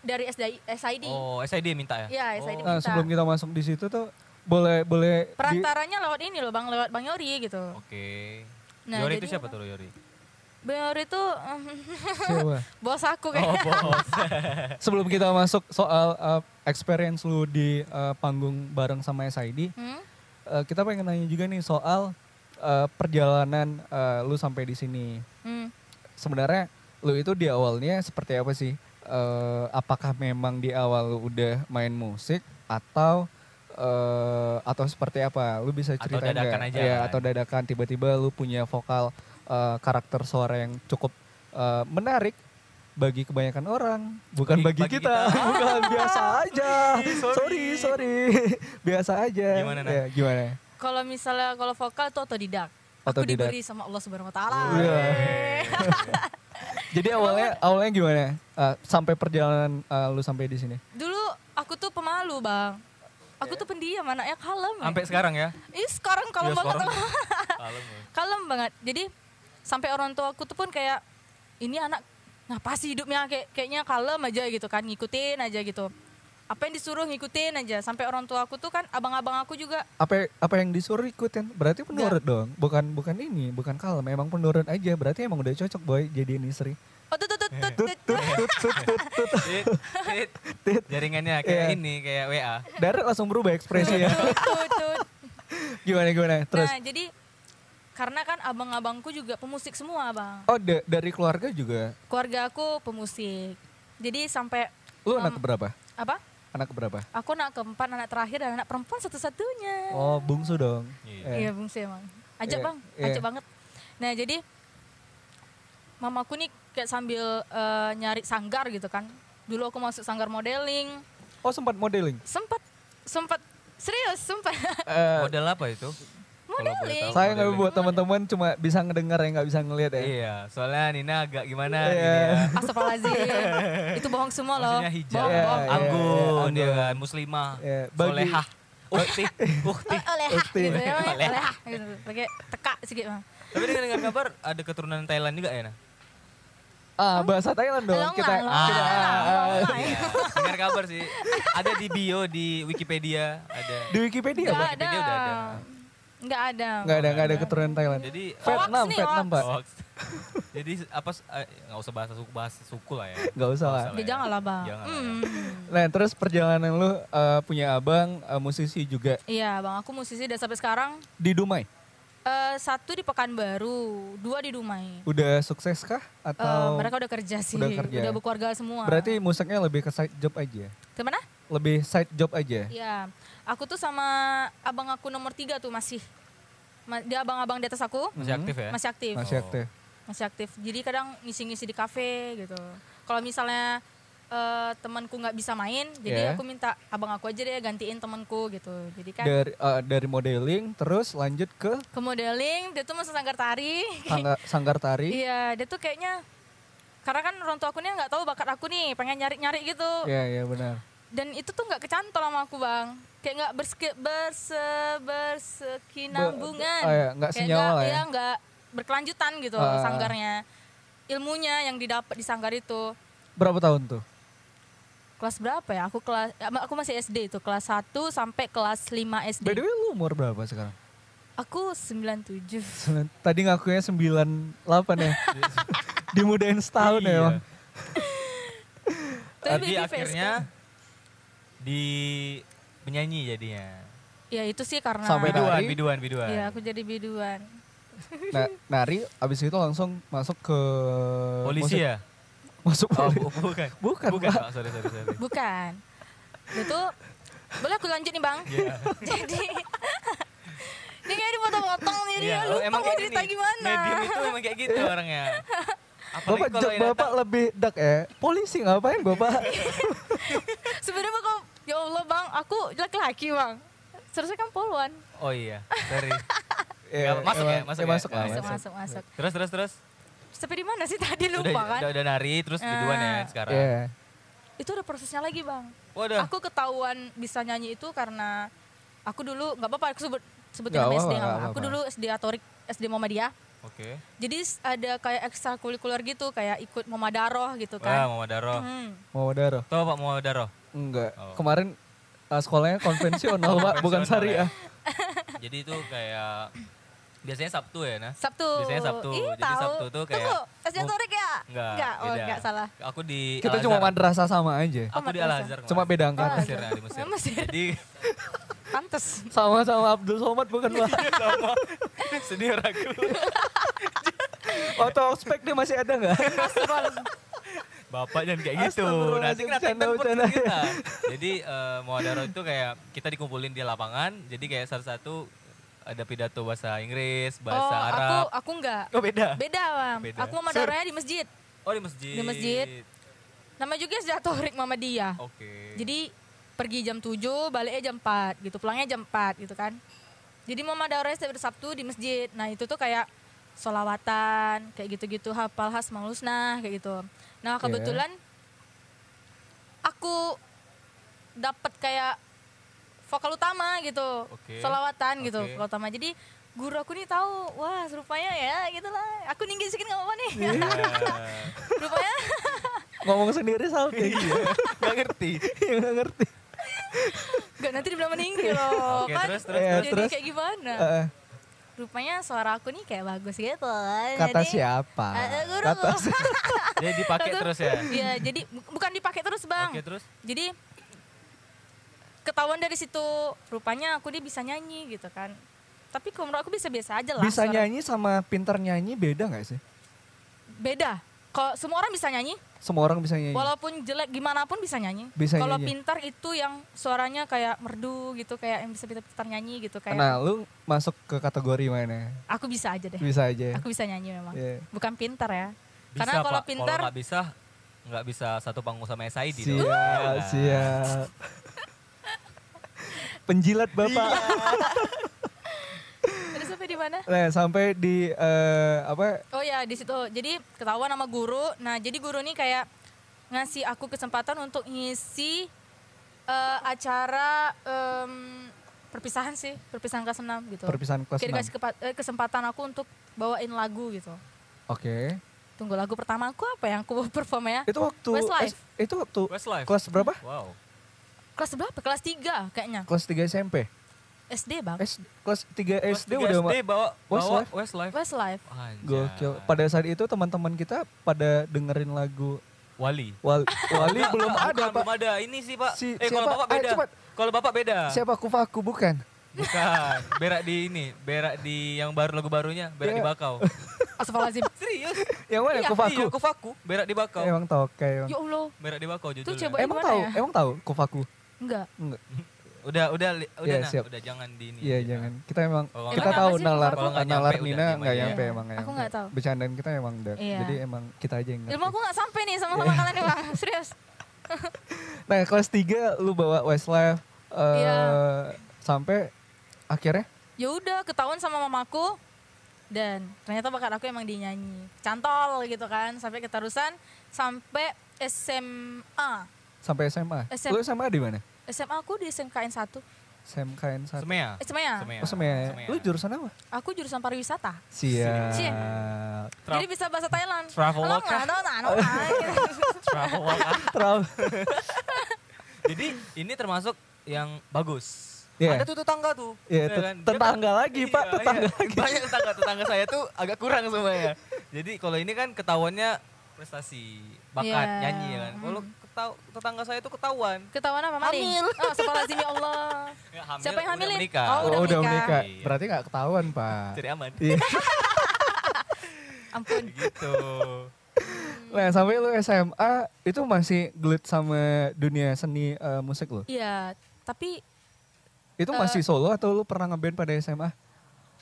dari SDI, SID.
oh SID minta ya
Ya, SID
Nah,
minta.
sebelum kita masuk di situ tuh boleh boleh di-
Perantaranya lewat ini loh Bang, lewat Bang Yori gitu.
oke
Nah,
Yori
jadi
itu siapa tuh Yori
Bang Yori
[LAUGHS]
itu [LAUGHS]
siapa?
bos aku kayak.
Sebelum kita masuk soal uh, experience lu di uh, panggung bareng sama SID,
Hmm?
uh, kita pengen nanya juga nih soal uh, perjalanan uh, lu sampai di sini.
Hmm.
Sebenarnya lu itu di awalnya seperti apa sih? Uh, apakah memang di awal lu udah main musik atau uh, atau seperti apa? Lu bisa
Atau
ceritain nggak?
dadakan aja
Iya,
kan?
atau dadakan tiba-tiba lu punya vokal uh, karakter suara yang cukup uh, menarik bagi kebanyakan orang, bukan
Bagi- bagi
bagi, kita. [LAUGHS] bukan biasa
[LAUGHS]
aja. sorry, sorry. [LAUGHS] biasa aja.
Gimana, Nat?
Ya, gimana?
Kalau misalnya kalau vokal itu otodidak. Aku
Otodidak.
diberi sama Allah Subhanahu wa taala.
Iya. Jadi awalnya awalnya gimana? Uh, sampai perjalanan uh, lu sampai di sini.
Dulu aku tuh pemalu, Bang. Aku tuh pendiam, anaknya kalem. ya.
sampai sekarang ya
Ih, sekarang kalem
Iya,
banget.
sekarang.
aku.
Kalem ya.
[LAUGHS] kalem banget. Jadi sampai orang tua aku tuh pun kayak ini anak ngapa sih hidupnya kayak kayaknya kalem aja gitu kan, ngikutin aja gitu. Apa yang disuruh ngikutin aja. Sampai orang tua aku tuh kan abang-abang aku juga
Apa apa yang disuruh ikutin? Berarti penurut dong. Bukan bukan ini, bukan kalem, emang penurut aja. Berarti emang udah cocok boy jadiin istri.
oh tut tut tut tut,
Tut tut
tut.
tut tut tut tut.
Tit, tit. jaringannya
Iya.
kayak ini kayak WA
Darat langsung berubah ekspresi
[LAUGHS]
ya.
Tut, tut, tut.
Gimana gimana? Terus
Nah, jadi karena kan abang-abangku juga pemusik semua, Bang.
oh da- dari keluarga juga.
Keluarga aku pemusik. Jadi sampai
Lu anak
Ah.
berapa?
apa?
Anak berapa?
Aku anak keempat, anak terakhir dan anak perempuan satu-satunya.
Oh, bungsu dong.
Iya.
Eh,
Iya bungsu emang. Ajak
Iya,
bang,
iya.
ajak banget. Nah jadi mamaku nih kayak sambil eh, nyari sanggar gitu kan. Dulu aku masuk sanggar modeling,
Oh, sempat modeling.
sempat sempat serius sempat
Eh,
model apa itu Kalau boleh
Iya, modeling.
tahu.
saya nggak buat teman-teman cuma bisa ngedengar yang nggak bisa ngelihat ya.
iya soalnya Nina agak gimana
Iya.
gini ya
[LAUGHS] Astagfirullahaladzim.
[LAUGHS]
itu bohong semua loh.
Maksudnya hijab,
Bohong,
Iya,
bohong.
iya,
anggun,
iya,
dia
anggun.
kan muslimah,
Iya, [LAUGHS] bagi-
solehah, uh. ukti, ukti.
Oh, olehah
Ukti.
gitu ya,
Olehah.
olehah gitu. Pakai teka sedikit bang.
Tapi dengan dengar kabar ada keturunan Thailand juga ya, nah.
Ah, bahasa Thailand dong.
Longa,
kita
longa,
kita ah, ah.
longa.
Iya, dengar kabar sih. Ada di bio di Wikipedia, ada.
di Wikipedia
Enggak
Pak.
ada.
Wikipedia udah ada.
Enggak ada.
Nggak ada, nggak ada keturunan Thailand.
Jadi
Hoax
Vietnam,
nih,
Vietnam,
hoax.
Pak.
hoax. Jadi apa s- eh, nggak usah bahasa suku bahas suku lah ya.
Nggak usah lah.
Nggak
Ya, jangan lah bang.
Jangan lah,
Hmm.
Nah, terus perjalanan lu eh, punya abang eh, musisi juga
Iya bang, aku musisi dan sampai sekarang
di Dumai.
Eh, satu di Pekanbaru, dua di Dumai.
Udah sukses kah
Eh,
atau
mereka udah kerja sih,
Oh. udah kerja.
berkeluarga semua.
berarti musiknya lebih ke side job aja?
kemana?
Lebih side job aja.
Ya, aku tuh sama abang aku nomor tiga tuh masih, Ma- dia abang-abang di atas aku
Masih aktif ya.
Hmm. masih aktif,
Masih
Oh.
aktif.
masih aktif. Jadi kadang ngisi-ngisi di kafe gitu. Kalau misalnya eh, temanku nggak bisa main, jadi
Yeah.
aku minta abang aku aja deh gantiin temanku gitu. Jadi kan
Dari eh, dari modeling terus lanjut ke
ke modeling, dia tuh masuk sanggar tari. [LAUGHS]
sanggar, sanggar tari.
Iya, dia tuh kayaknya karena kan orang tua aku nih nggak tahu bakat aku nih, pengen nyari-nyari gitu.
Iya, iya benar.
Dan itu tuh nggak kecantol sama aku bang, kayak nggak berske, berse, bersekinambungan.
Be- oh ya, nggak
Kayak
senyawa
nggak-
ya.
iya, nggak berkelanjutan gitu
Ah.
sanggarnya. Ilmunya yang didapat di sanggar itu
Berapa tahun tuh?
kelas berapa ya? Aku kelas, ya, aku masih SD itu kelas 1 sampai kelas 5 SD.
By the way, lu umur berapa sekarang? [LAUGHS]
Aku 97.
Sembilan- Tadi ngakunya 98 ya. Dimudahin setahun ya,
Iya.
Bang.
Jadi
Tapi baby face
akhirnya ya? di penyanyi jadinya.
Ya itu sih karena
Sampai dua.
Biduan,
Nari.
biduan, biduan.
Iya, aku jadi biduan.
Nah, nari abis itu langsung masuk ke
Polisi
musik-
ya?
Masuk
Oh,
poli-
bu- bukan.
[LAUGHS] Bukan,
Bukan,
Pak.
Pak. Sorry, sorry,
[LAUGHS]
sorry.
Bukan. Itu boleh aku lanjut nih bang. [LAUGHS] Jadi ini kayak dipotong-potong nih dia
Iya,
lupa
emang
mau
ini
cerita
nih,
gimana. [LAUGHS]
Medium itu emang kayak gitu orangnya. Apalagi
Bapak,
kalau
jok
yang
bapak
datang-
lebih dak ya. Polisi ngapain
[LAUGHS]
bapak?
Sebenarnya kok ya Allah bang, aku laki-laki bang. Seharusnya kan poluan.
Oh iya, sorry.
Ya,
masuk ya,
emang-
masuk ya.
masuk lah,
Masuk,
masuk.
masuk, masuk.
Terus terus terus.
Sampai di mana sih tadi
udah,
lupa kan?
udah, udah nari terus biduan ya
Ah.
sekarang.
Iya.
Itu ada prosesnya lagi bang.
Waduh.
Aku ketahuan bisa nyanyi itu karena aku dulu nggak apa-apa aku sebut sebutin
Nggak
nama
apa-apa,
SD
nggak
apa. Aku
apa-apa.
dulu SD Atorik, SD Muhammadiyah.
Oke.
Jadi s- ada kayak ekstrakurikuler gitu, kayak ikut memadaroh gitu
Wah,
kan.
Mama Daro.
Hmm.
Mau daro?
Tahu Pak Mama Daro?
Enggak.
Oh.
Kemarin eh, sekolahnya konvensional pak, bukan
Konvensional ya.
ya. syariah.
[LAUGHS] Jadi itu kayak biasanya Sabtu ya, Nah.
Sabtu.
Biasanya Sabtu.
Ih,
Jadi
tahu.
Sabtu tuh kayak-
Tunggu, SD Atorik ya?
Enggak.
oh
beda.
enggak salah.
Aku di
Kita
Al-Azhar.
cuma madrasah sama aja.
Aku di
madrasah.
Al-Azhar.
Cuma
kemarin.
beda angkatan.
Mesir, nah, di Mesir.
Mesir.
Jadi [LAUGHS]
Pantes.
Sama-sama Abdul Somad bukan pak?
sama sedih ragu.
Auto spek dia masih ada
[LAUGHS]
nggak?
Bapak jangan kayak gitu.
Astagfirullahaladzim,
Nanti kena
bercanda,
tembak
bercanda. [LAUGHS]
kita. Jadi eh, Muadaro itu kayak kita dikumpulin di lapangan. Jadi kayak satu-satu ada pidato bahasa Inggris, bahasa
oh,
Arab.
aku aku enggak.
Oh beda.
Beda, Bang.
Beda.
Aku memadarohnya di masjid.
Oh di masjid.
Di masjid. Nama juga SD Atorik Muhammadiyah.
Oke.
Jadi pergi jam 7, baliknya jam 4 gitu, pulangnya jam 4 gitu kan. Jadi mama daurah setiap hari Sabtu di masjid. Nah itu tuh kayak solawatan, kayak gitu-gitu, hafal khas malusnah, kayak gitu. Nah
Iya.
kebetulan aku dapat kayak vokal utama gitu,
Oke.
solawatan gitu,
Oke.
vokal utama. Jadi guru aku nih tahu, wah rupanya ya gitu lah. Aku ninggil sedikit nggak apa-apa nih.
Ya.
[LAUGHS] rupanya [LAUGHS]
Ngomong sendiri salting.
Gak ngerti.
Iya nggak ngerti.
nggak nanti dibilang meninggi loh.
Oke,
kan
terus, terus,
Iya,
jadi
terus.
kayak gimana?
Eh,
rupanya suara aku nih kayak bagus gitu.
kata
Jadi,
siapa?
eh, guru. [LAUGHS]
Kata si-
Jadi dipakai terus ya.
Iya, jadi bu- bukan dipakai terus, Bang.
Oke terus.
Jadi ketahuan dari situ rupanya aku dia bisa nyanyi gitu kan. Tapi kalau menurut aku bisa-biasa aja lah.
[LAUGHS] Bisa
suara-
nyanyi sama pinter nyanyi beda nggak sih?
Beda. Kalau semua orang bisa nyanyi,
Semua orang bisa nyanyi.
walaupun jelek gimana pun bisa nyanyi.
Iya. Bisa
kalau
nyanyi.
pintar itu yang suaranya kayak merdu gitu, kayak yang bisa pintar-pintar nyanyi gitu kayak.
Nah, lu masuk ke kategori mana?
Aku bisa aja deh.
Bisa aja.
Eh, Aku bisa nyanyi memang.
Iya.
Bukan pintar ya.
Bisa,
Karena kalau
Pak.
pintar
Kalau nggak bisa, nggak bisa satu panggung sama SID dong.
Siap,
Nah.
siap. [LAUGHS] Penjilat Bapak.
Iya. terus sampai di mana?
Nah, sampai di eh, apa?
Oh ya di situ. Jadi ketahuan sama guru. Nah jadi guru nih kayak ngasih aku kesempatan untuk ngisi eh, acara em, perpisahan sih, perpisahan kelas 6 gitu.
Perpisahan kelas
Kayak dikasih kepa- eh, kesempatan aku untuk bawain lagu gitu.
Oke.
Tunggu lagu pertama aku apa yang aku [LAUGHS] perform ya?
Itu waktu
Westlife.
es- itu waktu
Westlife.
kelas berapa?
Wow.
Kelas berapa? Kelas 3 kayaknya.
Kelas 3 SMP.
SD bang.
S- kelas 3
Kelas
SD
tiga
udah
SD
ma-
bawa bawa
Westlife.
Westlife.
Westlife.
Anjay.
gokil.
Iya.
Pada saat itu teman-teman kita pada dengerin lagu
Wali.
Wal- Wali
Enggak,
belum
enggak,
ada,
bukan,
Pak.
Belum ada. Ini sih, Pak.
Si-
eh, kalau
siapa?
Bapak
Ayo,
beda.
cepat.
Kalau Bapak beda.
Siapa kufaku bukan?
Bukan. Berak di ini, berak di yang baru lagu barunya, berak di
Iya.
bakau.
[LAUGHS]
Astagfirullahaladzim.
Serius?
Yang mana
Iya,
kufaku? Iya.
Iya, kufaku, berak di bakau.
Emang tahu kayak emang.
ya Allah.
Berak di bakau judulnya.
coba-
Emang
Gimana
tahu,
ya?
emang tahu kufaku.
Enggak.
Enggak.
Udah, udah, li- udah,
Iya,
Nah.
siap.
udah jangan di ini.
Iya,
aja,
jangan.
Nah.
Kita emang
Kalau
kita
nggak-
Emang
tahu
apa sih
nalar
kufaku? Kalau nggak
nalar
nyampe,
Nina
udah,
nggak
diam aja.
nyampe
Iya.
emang. nggak
Aku
nyampe.
nggak tahu.
Bercandaan kita emang udah.
Iya.
Jadi emang kita aja yang
Ilmu
ngerti.
aku nggak sampai nih sama-sama kalian nih
[LAUGHS]
bang. Serius.
Nah, kelas 3 lu bawa Westlife eh,
Iya.
sampai akhirnya
ya udah ketahuan sama mamaku dan ternyata bakat aku emang dinyanyi cantol gitu kan sampai keterusan sampai SMA
sampai SMA.
SM.
Lu SMA di mana?
SMA aku di SMKN 1
SMKN 1.
Semea.
SMA ya
Semea.
Oh, SMA.
Semea.
Lu jurusan apa?
aku jurusan pariwisata Cie.
Siap.
Tra-
jadi bisa bahasa Thailand
Travel
Alam,
walker.
alam, alam, alam, gitu.
Travel walk up. [LAUGHS]
Terlalu.
Jadi ini termasuk yang bagus. Ada
Iya.
tuh tetangga tuh.
Iya,
ya
tet-
kan? Dia
tetangga lagi, Pak,
iya.
tetangga lagi.
Banyak tetangga, tetangga saya tuh agak kurang semuanya. Jadi kalau ini kan ketahuannya prestasi, bakat,
Iya.
nyanyi ya kan. Kalau ketau, tetangga saya tuh ketahuan.
ketahuan apa maling
Hamil.
[LAUGHS] oh, astagfirullahaladzim, ya Allah
Ya, hamil,
Siapa yang
udah
hamilin?
menikah.
Oh, udah
Oh, udah menikah.
menikah.
Iya.
Berarti nggak ketahuan, Pak.
Jadi aman.
Iya.
ampun
gitu. [LAUGHS]
Nah, sampai lu SMA itu masih gelut sama dunia seni eh, musik lu.
iya tapi Eh.
Itu masih solo atau lu pernah ngeband pada SMA?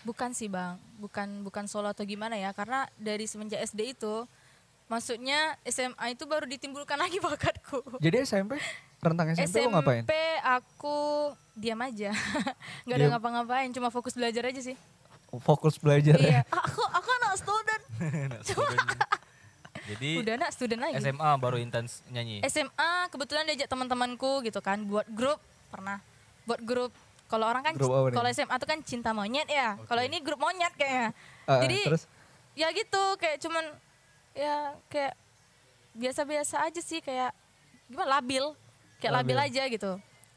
Bukan sih bang, bukan bukan solo atau gimana ya, karena dari semenjak SD itu Maksudnya SMA itu baru ditimbulkan lagi bakatku.
Jadi SMP rentang SMP,
SMP
lo ngapain?
aku diam aja. [LAUGHS] nggak ada
Diam.
ngapa-ngapain, cuma fokus belajar aja sih.
Fokus belajar ya.
iya, aku aku anak student.
Anak student. Nah, Jadi
Udah anak student lagi.
SMA baru intens nyanyi.
SMA kebetulan diajak teman-temanku gitu kan buat grup pernah buat grup kalau orang kan
Grup apa nih?
kalau SMA tuh kan cinta monyet ya kalau ini grup monyet kayaknya
Ah,
jadi
terus
ya gitu kayak cuman ya kayak biasa-biasa aja sih kayak gimana labil kayak labil,
Labil.
aja gitu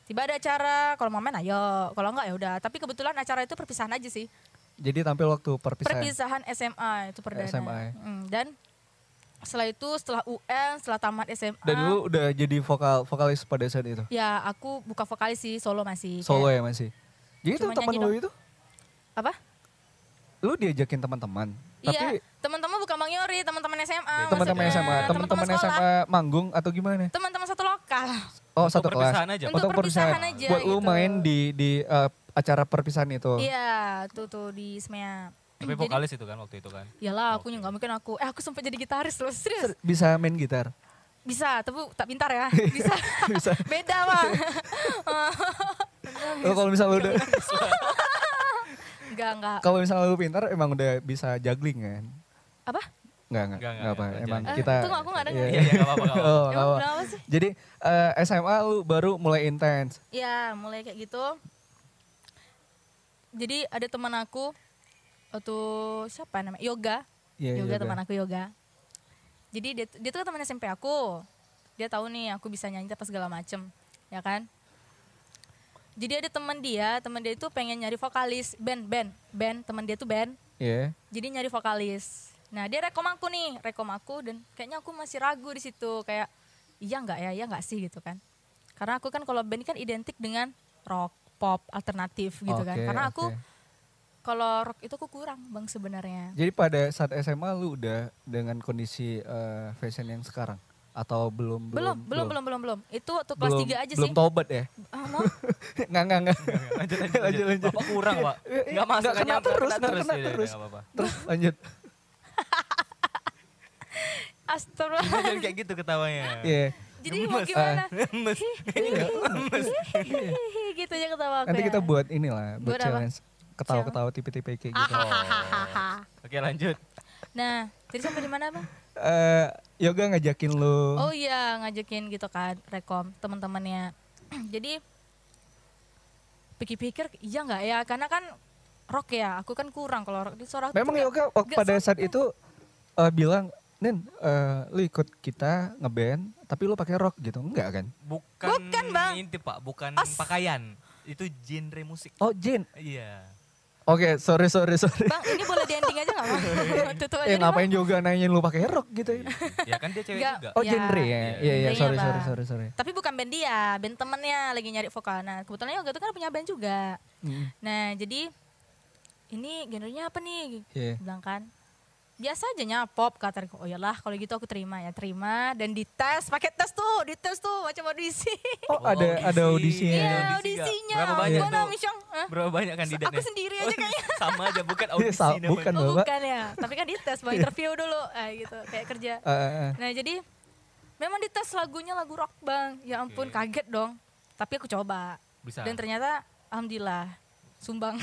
tiba ada acara kalau mau main ayo kalau enggak ya udah tapi kebetulan acara itu perpisahan aja sih
[LAUGHS] jadi tampil waktu perpisahan.
perpisahan SMA itu perdana
SMA.
Mm, dan setelah itu setelah UN setelah tamat SMA
Dan lu udah jadi vokal vokalis pada saat itu.
Ya aku buka vokalis sih solo masih.
Solo ya
Kayak-
masih. Jadi itu
Cuma
teman
Iya. nyanyi
lu
dong.
itu
Apa?
lu diajakin teman-teman.
iya.
Tapi Iya,
Teman-teman bukan Bang Yori, teman-teman SMA.
teman-teman
maksudnya.
SMA, teman-teman
sekolah.
SMA manggung atau gimana?
Teman-teman satu lokal.
Oh,
Untuk
satu kelas.
perpisahan aja.
Untuk perpisahan aja
Buat lu
gitu.
main di di eh, acara perpisahan itu.
Iya, tuh tuh di SMA.
Tapi vokalis itu kan waktu itu kan.
Iyalah, aku nggak mungkin aku. Eh, aku sempat jadi gitaris loh, serius.
Bisa main gitar.
Bisa, tapi tak
[LAUGHS]
pintar ya. Bisa.
Bisa.
[LAUGHS] Beda, Bang.
Lu Oh, kalau misalnya lu udah
Enggak, enggak.
kalau misalnya lu pintar emang udah bisa juggling kan?
Apa?
Enggak, enggak,
Enggak,
enggak
enggak,
apa.
enggak,
Emang
jangan.
Eh,
kita
tunggu, aku enggak dengar.
Iya, iya, enggak apa-apa, enggak apa-apa.
[LAUGHS] Oh, enggak
Emang
apa.
kenapa sih?
Jadi eh, SMA lu baru mulai intens.
Ya, mulai kayak gitu. Jadi ada teman aku waktu siapa namanya? Yoga.
Iya,
yoga,
yoga.
teman aku yoga. Jadi dia dia tuh kan teman SMP aku. Dia tahu nih aku bisa nyanyi apa segala macem, ya kan? Jadi ada teman dia, teman dia itu pengen nyari vokalis band, band, band. Teman dia tuh band.
Iya.
Jadi nyari vokalis. Nah dia rekom aku nih, rekom aku dan kayaknya aku masih ragu di situ kayak iya nggak ya, iya nggak sih gitu kan. Karena aku kan kalau band kan identik dengan rock, pop, alternatif gitu kan.
Oke,
Karena aku
oke.
kalau rock itu aku kurang bang sebenarnya.
Jadi pada saat SMA lu udah dengan kondisi eh, fashion yang sekarang atau belum
Belum, belum, belum, belum, belum. Itu waktu kelas
Belum-
3 aja
belum
sih.
tobat ya? [LAUGHS]
Ah, mau?
Nggak, nggak, nggak. [LAUGHS]
Lanjut, lanjut, lanjut. Bapak kurang, Pak. Enggak masuk,
Iya, Nggak kena
nyampe,
terus, nggak kena
Iya, iya,
terus.
nggak apa-apa.
Terus lanjut. [LAUGHS]
Astagfirullah.
Jangan kayak gitu ketawanya.
Iya.
Jadi mau
Gemes.
gimana?
Gemes.
[LAUGHS] gitu aja ketawa
Ah,
aku
iya. Nanti
ya.
kita buat inilah, buat
Buat apa? Ah,
challenge. Ketawa-ketawa tipe-tipe kayak gitu.
Oke, lanjut.
Nah, jadi sampai di mana bang?
Eh, yoga ngajakin lu.
Oh iya ngajakin gitu kan rekom teman-temannya. [CLEARS THROAT] Jadi pikir-pikir iya nggak ya karena kan rock ya aku kan kurang kalau rock di suara aku
Memang ya.
tuh
Yoga
nggak-
waktu
nggak
pada
suka.
saat itu eh, bilang, Nen, eh, lu ikut kita ngeband, tapi lu pakai rock gitu, enggak kan?
Bukan,
Bukan, Bang.
inti, Pak. Bukan
As.
pakaian. Itu genre musik.
Oh Jin,
Iya.
oke sorry sorry [LAUGHS] sorry.
Bang ini boleh di ending aja nggak bang? [LAUGHS] Tutup aja
[LAUGHS] Eh
deh, Bang.
ngapain Yoga nanyain lu pakai rock gitu?
Ya kan dia cewek
Nggak.
juga.
Oh
Ya.
genre ya, iya iya
Genrenya,
sorry
Bang.
sorry sorry sorry.
Tapi bukan band dia, band temennya lagi nyari vokal. Nah kebetulan Yoga tuh kan punya band juga.
Mm,
Nah jadi ini genrenya apa nih?
Iya.
Bilang kan biasa aja nyapop kata dia. oh iyalah kalau gitu aku terima ya terima dan dites pakai tes tuh dites tuh macam [LAUGHS] audisi
Oh ada ada ya? audisinya.
Iya,
audisi nggak?
audisinya.
Berapa banyak
Gua
tuh?
nama Misyong. Hah?
Berapa ya? Oh, banyak kandidatnya?
Aku sendiri aja kayaknya.
[LAUGHS] Sama aja, bukan
Iya,
audisi
sa-
namanya.
bukan
Oh,
bapak.
bukan ya. Tapi kan dites, mau interview dulu. Ah, gitu, kayak kerja.
Eh, eh, eh.
Nah, jadi memang dites lagunya lagu rock, Bang. Ya
Oke.
ampun, kaget dong. Tapi aku coba.
Bisa.
Dan ternyata alhamdulillah
[LAUGHS]
sumbang.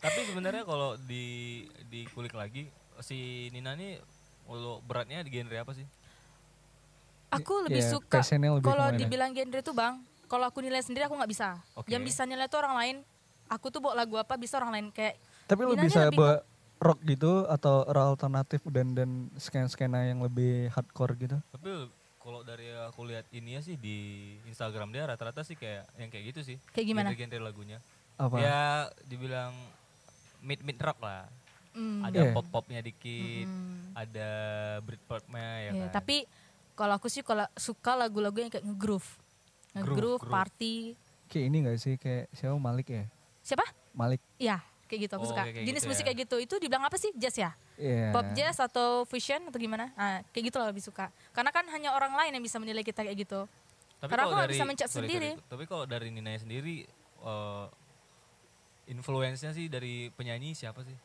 Tapi sebenarnya kalau di dikulik lagi si Nina nih kalau beratnya di genre apa sih?
aku lebih
Iya,
suka
passionnya lebih
kalau
kemana?
dibilang genre itu, Bang. Kalau aku nilai sendiri aku nggak bisa.
Oke.
Yang bisa nilai itu orang lain. Aku tuh bawa lagu apa bisa orang lain kayak
Tapi lu
Minanya
bisa
lebih-
buat rock gitu atau rock alternatif dan dan skena skena yang lebih hardcore gitu?
Tapi kalau dari aku lihat ini ya sih di Instagram dia rata-rata sih kayak yang kayak gitu sih.
Kayak gimana?
Genre-genre lagunya.
Apa?
Ya dibilang mid mid rock lah.
hmm,
Ada
Iya.
pop popnya dikit, ada Britpopnya ya
Iya,
kan.
tapi kalau aku sih kalau suka lagu-lagu yang kayak nge-groove. Nge-groove,
groove.
party.
Kayak ini gak sih kayak siapa Malik ya?
Siapa?
Malik.
Iya, kayak gitu aku
Oh,
suka.
kayak- kayak
Jenis
gitu
musik
ya.
kayak gitu. Itu dibilang apa sih? Jazz ya?
Iya.
Pop jazz atau fusion atau gimana? Ah, kayak gitu lah lebih suka. Karena kan hanya orang lain yang bisa menilai kita kayak gitu.
kalau
Karena aku nggak bisa mencet
sorry, sorry,
sendiri.
tapi kalau dari Nina sendiri eh influence-nya sih dari penyanyi siapa sih?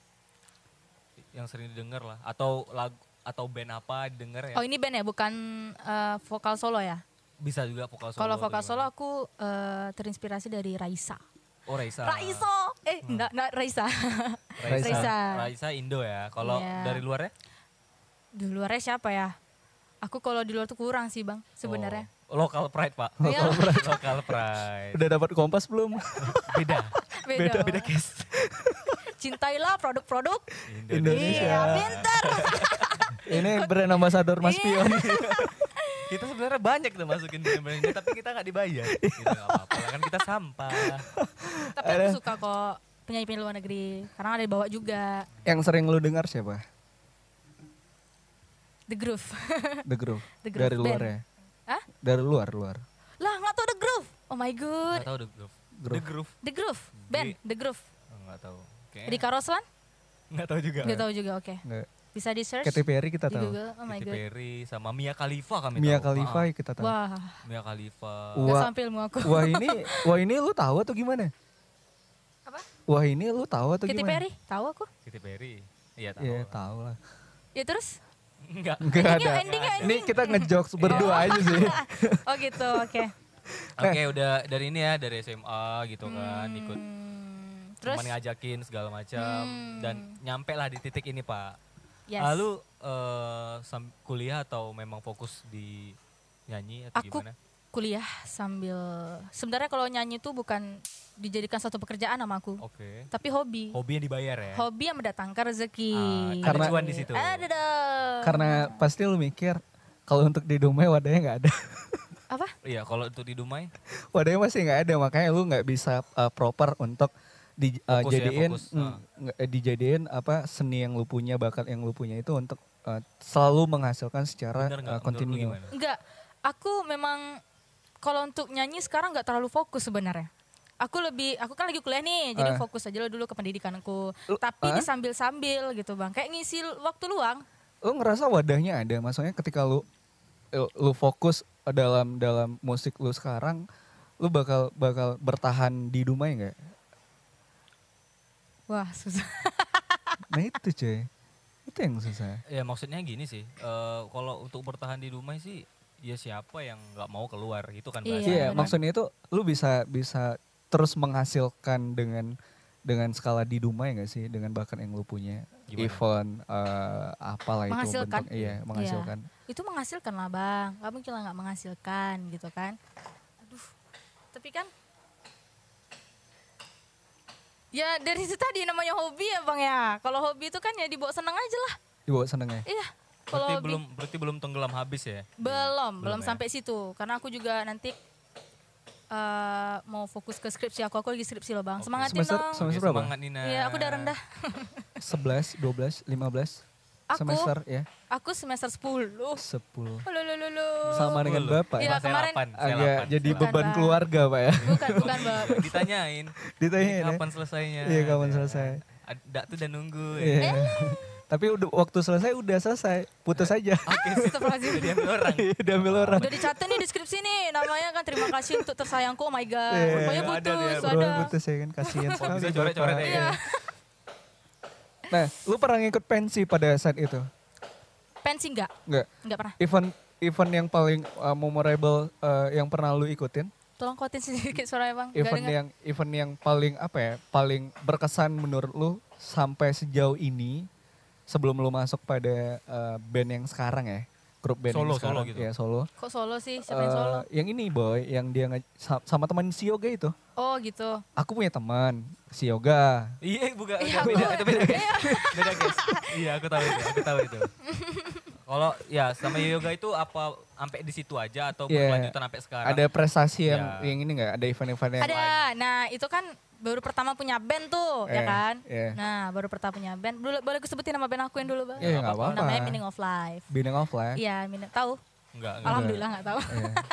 Yang sering didengar lah atau lagu atau band apa denger ya?
Oh ini band ya, bukan eh, vokal solo ya?
Bisa juga vokal solo.
Kalau
atau
vokal solo
gimana.
aku eh, terinspirasi dari Raisa.
Oh Raisa.
Raiso, eh enggak, enggak Raisa.
Hmm. Raisa.
Raisa.
Raisa Indo ya. Kalau
Iya.
dari luarnya?
di luarnya siapa ya? Aku kalau di luar tuh kurang sih bang sebenarnya.
Oh, local pride pak.
Iya. Local
[LAUGHS] Local pride.
Udah dapat kompas belum? [LAUGHS]
Beda.
Beda.
Beda case.
Cintailah produk-produk.
Indonesia.
Iya, pinter.
Ini brand ambassador Mas
Iya. [LAUGHS]
Pion.
kita sebenarnya banyak tuh masukin brand-brand ini,
[LAUGHS]
tapi kita nggak dibayar. Gitu, nggak apa-apa lah, kan kita sampah.
Tapi aku suka kok penyanyi-penyanyi luar negeri. Karena ada dibawa juga
Yang sering lu dengar siapa?
The Groove. [LAUGHS]
The Groove.
The Groove
Dari luar
Band.
ya.
Hah?
Dari luar, luar.
Lah nggak tau The Groove. Oh my
Nggak
god.
tahu the groove. The
Groove.
groove.
The Groove. Band The Groove.
Oh, Nggak tahu. Kayaknya
Erika Roslan?
nggak tahu juga.
Nggak tahu juga. Oke.
Nggak.
Bisa di search
Katy Perry kita
di
tahu.
Google. Oh my
Katy
god.
Perry sama Mia Khalifa kami
Mia
tahu.
Khalifa
Ah,
kita tahu.
Wah.
Mia Khalifa.
Nggak
Wah,
sampai ilmu aku.
wah ini, wah ini lu tahu atau gimana?
Apa?
Wah ini lu tahu atau
Katy
gimana?
Perry. Tahu aku.
Katy Perry. Iya Eh. tahu. [LAUGHS]
Iya,
lah.
tahu lah.
Ya terus?
Enggak.
Enggak ada.
Endingnya, endingnya,
Ini kita ngejokes
Iya.
berdua aja sih.
[LAUGHS] Oh gitu. Oke.
Oke, udah dari ini ya, dari SMA gitu kan, ikut
Hmm, Terus?
teman ngajakin segala macam
Hmm.
dan nyampe lah di titik ini, Pak.
Yes.
Lalu eh, sam- kuliah atau memang fokus di nyanyi atau
Aku
gimana?
kuliah sambil sebenarnya kalau nyanyi itu bukan dijadikan satu pekerjaan sama aku,
Oke.
tapi hobi.
Hobi yang dibayar ya.
Hobi yang mendatangkan rezeki.
Ah, ada
Karena-
cuan di situ.
Ada dong.
Karena pasti lu mikir kalau untuk di Dumai wadahnya nggak ada.
apa?
Iya, kalau untuk di Dumai
Wadahnya masih nggak ada, makanya lu nggak bisa uh, proper untuk di, uh,
Fokus ya,
jadiin
fokus.
mm,
Ah.
nggak- eh, dijadiin apa seni yang lu punya, bakat yang lu punya itu untuk uh, selalu menghasilkan secara
bener
uh,
enggak? Menurut lu
kontinu.
gimana?
Enggak. Aku memang kalau untuk nyanyi sekarang nggak terlalu fokus sebenarnya. Aku lebih, aku kan lagi kuliah nih, jadi
Ah.
fokus aja lo dulu ke pendidikanku.
Lu-
Tapi
ah?
di sambil-sambil gitu bang, kayak ngisi waktu luang.
Lu ngerasa wadahnya ada, maksudnya ketika lu lu- lu fokus uh, dalam dalam musik lu sekarang, lu bakal bakal bertahan di Dumai nggak?
Wah susah.
Nah itu cuy, itu yang susah.
Ya maksudnya gini sih, eh, kalau untuk bertahan di Dumai sih, ya siapa yang nggak mau keluar gitu kan
Iya,
bahasanya.
Iya,
benar.
maksudnya itu lu bisa bisa terus menghasilkan dengan dengan skala di Dumai enggak sih dengan bakat yang lu punya.
Gimana?
Event eh, apalah itu
Menghasilkan.
bentuk iya, menghasilkan.
itu menghasilkan lah bang nggak mungkin lah nggak menghasilkan gitu kan aduh tapi kan ya dari situ tadi namanya hobi ya bang ya kalau hobi itu kan ya dibawa seneng aja lah
Dibawa senengnya.
iya
Berarti
kalau hobi-
belum berarti belum tenggelam habis ya?
belum belum
ya.
sampai situ karena aku juga nanti eh, mau fokus ke skripsi aku aku lagi skripsi loh bang semangatin
Semester
dong
Oke,
semester berapa?
Ya, Semangat Nah. Nina.
Iya, aku udah rendah. [LAUGHS]
11, 12, 15
Aku?
semester ya.
Aku semester 10.
10.
Lulululu.
Sama dengan Bapak
Saya
ya.
Iya, kemarin-
lapan, saya
Agak
lapan,
jadi
saya lapan.
beban
Bang.
keluarga, Pak ya.
Bukan, bukan, Bang.
Ditanyain.
Ditanyain
"Ini
ya?"
Kapan selesainya?
Iya, kapan
Ya.
selesai.
Ada tuh udah nunggu.
Iya. Tapi udah waktu selesai udah selesai, putus aja.
Oke, sih.
Astagfirullahaladzim.
Jadi ambil orang.
Diambil orang.
Udah dicatat nih deskripsi nih namanya kan terima kasih untuk tersayangku oh my god
Iya,
rupanya
Ada dia,
putus
bro.
ada
Berulang putus ya kan kasihan
Kok
sekali.
bisa coret-coret
Bapak.
ya?
Iya.
Nah, lu pernah ngikut pensi pada saat itu?
pensi enggak
Enggak.
enggak pernah
Event event yang paling uh, memorable uh, yang pernah lu ikutin?
tolong kuatin sedikit suaranya bang enggak
Event
dengar
yang event yang paling apa ya? Paling berkesan menurut lu sampai sejauh ini sebelum lu masuk pada uh, band yang sekarang ya? Grup band
Solo,
yang sekarang.
solo gitu.
Ya, solo.
kok solo sih siapa yang
Eh,
solo
yang ini boy, yang dia nge- sa- sama teman si Yoga itu.
oh gitu
Aku punya teman si Yoga.
Iya, bukan.
Iya,
beda,
aku-
itu beda guys. Beda guys. Iya, aku tahu itu, aku tahu itu. Kalau ya sama yoga itu apa sampai di situ aja atau
Iya.
berkelanjutan sampai sekarang?
Ada prestasi yang
Ya.
yang ini enggak? Ada event-event yang
ada nah itu kan baru pertama punya band tuh ya
Eh,
kan
iya.
nah baru pertama punya band boleh boleh aku sebutin nama band aku yang dulu bang
Iya, nggak apa-apa.
namanya meaning of life
Bidang offline.
iya meaning tahu
Enggak, enggak.
Alhamdulillah nggak tahu. [LAUGHS]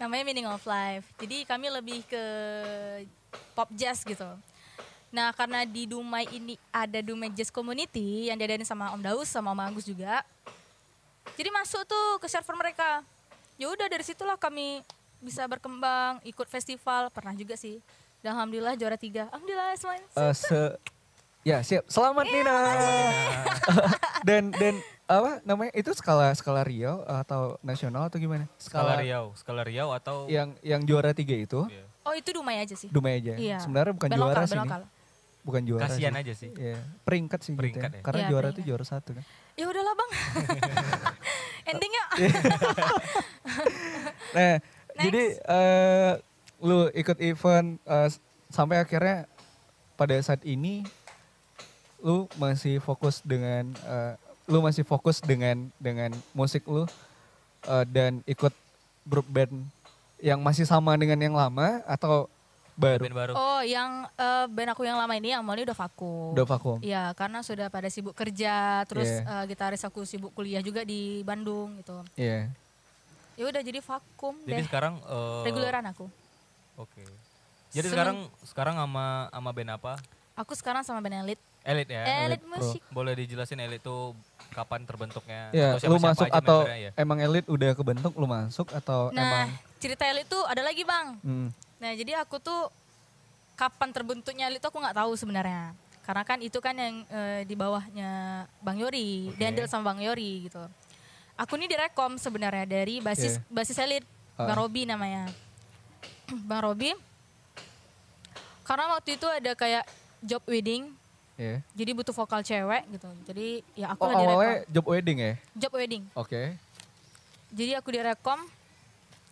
Namanya Meaning of Life. Jadi kami lebih ke pop jazz gitu. Nah karena di Dumai ini ada Dumai Jazz Community yang diadain sama Om Daus sama Om Agus juga. Jadi masuk tuh ke server mereka. Ya udah dari situlah kami bisa berkembang, ikut festival, pernah juga sih. Dan alhamdulillah juara tiga. Alhamdulillah semuanya. Iya.
Eh, se ya siap selamat Nina [LAUGHS] dan dan apa namanya itu skala skala Riau atau nasional atau gimana?
Skala Riau, skala Riau atau
yang yang juara tiga itu
Iya.
Oh itu Dumai aja sih.
Dumai aja.
Iya.
Sebenarnya bukan juara
belokal,
sih, ini.
belokal.
bukan juara.
kasihan
sih.
aja sih.
Iya, peringkat sih gitu
Peringkat
ya.
ya.
Karena
Iya,
juara itu
peringkat.
juara satu kan.
Ya udahlah bang. Endingnya
Nah, jadi eh, lu ikut event eh, s- sampai akhirnya pada saat ini lu masih fokus dengan eh, lu masih fokus dengan dengan musik lu eh, dan ikut grup band yang masih sama dengan yang lama atau baru
Band baru.
oh yang eh, band aku yang lama ini yang Molly udah vakum.
udah vakum?
Iya karena sudah pada sibuk kerja terus
Iya.
eh, gitaris aku sibuk kuliah juga di Bandung gitu.
Iya.
Ya udah jadi vakum
Jadi
deh
sekarang eh,
reguleran aku.
Oke. Jadi
Seneng.
sekarang sekarang sama sama band apa?
Aku sekarang sama band Elite.
Elit ya.
Elite
Pro.
musik.
Boleh dijelasin Elit itu kapan terbentuknya
Iya, lu
siapa-siapa
masuk
aja
atau
membernya ya?
emang elit udah kebentuk lu masuk atau Oh, emang
Nah cerita Elite tuh ada lagi bang.
hmm,
Nah, jadi aku tuh kapan terbentuknya Elit tuh aku nggak tahu sebenarnya. Karena kan itu kan yang eh, di bawahnya Bang Yori,
Oke.
diandel sama Bang Yori gitu. Aku ini direkom sebenarnya dari basis basis Elit, Bang
Ah.
Robi namanya. [CLEARS THROAT] Bang Robi. Karena waktu itu ada kayak job wedding,
iya.
jadi butuh vokal cewek gitu. Jadi ya aku
Oh,
lah direkom.
awalnya job wedding ya?
Job wedding.
Oke.
Jadi aku direkom.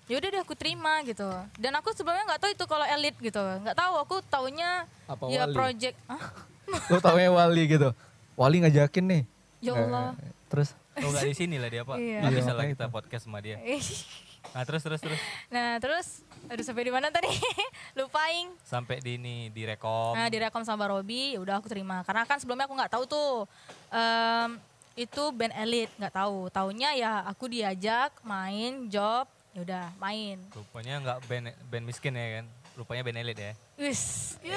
Ya udah deh aku terima gitu. Dan aku sebelumnya nggak tahu itu kalau elit gitu. Nggak tahu aku taunya
Apa
ya
Wali?
project. Hah?
lu taunya Wali gitu. Wali ngajakin nih.
Ya Allah.
Eh, terus
Oh nggak di sini lah dia pak.
Iya.
Nggak
Iya,
bisa lah
makanya
kita
itu.
podcast sama dia.
Eh.
Nah terus terus terus
[LAUGHS] nah, terus aduh sampai di mana tadi? [LAUGHS] Lupain.
sampai di ini direkom.
Nah, direkom sama Robi, ya udah aku terima. Karena kan sebelumnya aku nggak tahu tuh em, itu band elit, nggak tahu. Taunya ya aku diajak main job, ya udah main.
Rupanya nggak band band miskin ya kan. Rupanya band elit
[LAUGHS]
ya.
Wis, ya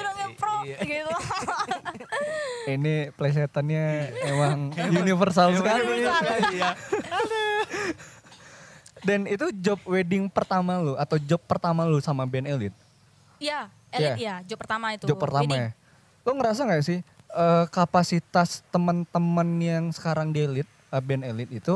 Eh,
udah ngepro
Iya.
[LAUGHS]
gitu.
ini plesetannya [LAUGHS] emang universal sekali.
Iya.
Dan itu job wedding pertama lu atau job pertama lu sama band Elite?
Iya, elit ya, job pertama itu.
Job pertama
Wedding.
ya. Lu ngerasa nggak sih eh, kapasitas teman-teman yang sekarang di Elite, eh, band Elite itu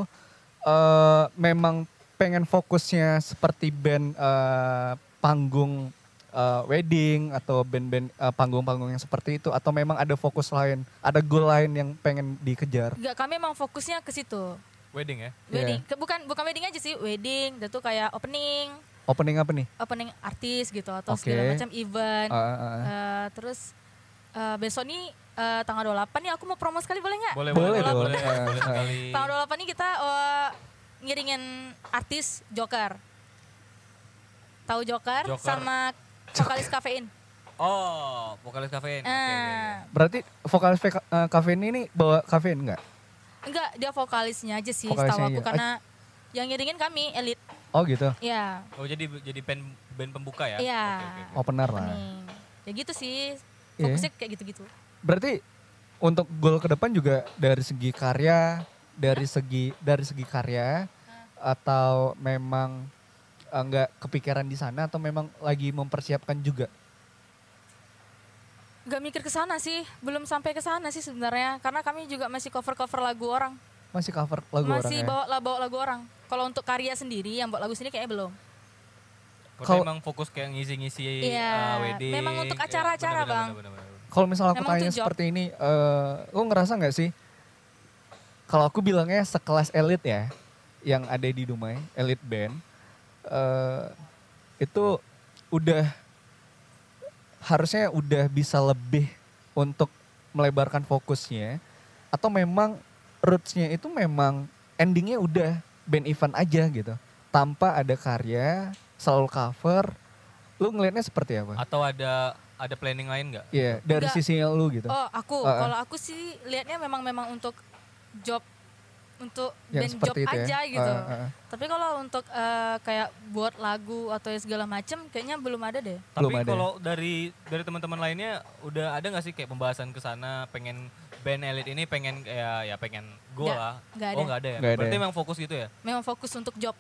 eh, memang pengen fokusnya seperti band eh, panggung eh, wedding atau band-band eh, panggung-panggung yang seperti itu atau memang ada fokus lain, ada goal lain yang pengen dikejar?
Enggak, kami emang fokusnya ke situ.
Wedding ya.
Wedding. Ke- Bukan bukan wedding aja sih, wedding. Itu tuh kayak opening,
Opening apa nih?
opening artis gitu atau
Oke.
segala macam event.
Ah, ah, ah.
Eh, terus eh, besok nih eh, tanggal 28 nih aku mau promo sekali boleh nggak?
Boleh
Boleh
boleh boleh.
dong.
Boleh,
Eh,
boleh
eh.
sekali.
Tanggal 28 nih kita eh, ngiringin artis Joker. Tahu Joker,
Joker.
sama vokalis kafein.
Oh, vokalis kafein. Oke, oke, oke.
Eh,
Berarti vokalis Fe- eh, kafein ini bawa kafein nggak?
enggak, dia vokalisnya aja sih,
Vokalisnya
setahu aku
aja.
karena yang ngiringin kami elit.
Oh gitu,
Ya.
Oh jadi jadi band band pembuka ya?
Iya.
Oke, oke, oke.
opener lah.
Opening. Ya gitu sih.
Iya.
Fokusnya kayak gitu-gitu.
Berarti untuk goal ke depan juga dari segi karya, dari segi dari segi karya atau memang eh, nggak kepikiran di sana atau memang lagi mempersiapkan juga?
Gak mikir ke sana sih, belum sampai ke sana sih sebenarnya. Karena kami juga masih cover-cover lagu orang.
Masih cover lagu orang
masih
ya?
bawa la- bawa lagu orang. Kalau untuk karya sendiri yang buat lagu sendiri kayaknya belum.
Berarti
Kalau-
emang fokus kayak ngisi-ngisi
Iya,
uh, wedding.
memang untuk
Iya,
acara-acara,
benar-benar,
Bang.
benar-benar, benar-benar.
Kalau misalnya aku
Memang
tanya
tuh job.
seperti ini, eh lu ngerasa nggak sih? Kalau aku bilangnya sekelas elit ya, yang ada di Dumai, elit band, eh itu udah harusnya udah bisa lebih untuk melebarkan fokusnya, atau memang rootsnya itu memang endingnya udah band event aja gitu, tanpa ada karya, selalu cover. Lu ngelihatnya seperti apa?
Atau ada ada planning lain nggak?
Iya, dari
Enggak.
sisinya lu gitu.
Oh, aku
Ah, ah.
kalau aku sih lihatnya memang memang untuk job untuk
yang
band job
seperti itu ya.
aja gitu.
Heeh, heeh.
Tapi kalau untuk eh, kayak buat lagu atau segala macem kayaknya belum ada deh.
Tapi
Belum ada. ya?
kalau dari dari teman-teman lainnya udah ada nggak sih kayak pembahasan ke sana pengen band elit ini pengen kayak ya pengen gue
Nggak,
lah.
nggak ada.
Oh nggak ada ya.
Nggak ada
Berarti
ya.
memang fokus gitu ya.
Memang fokus untuk job.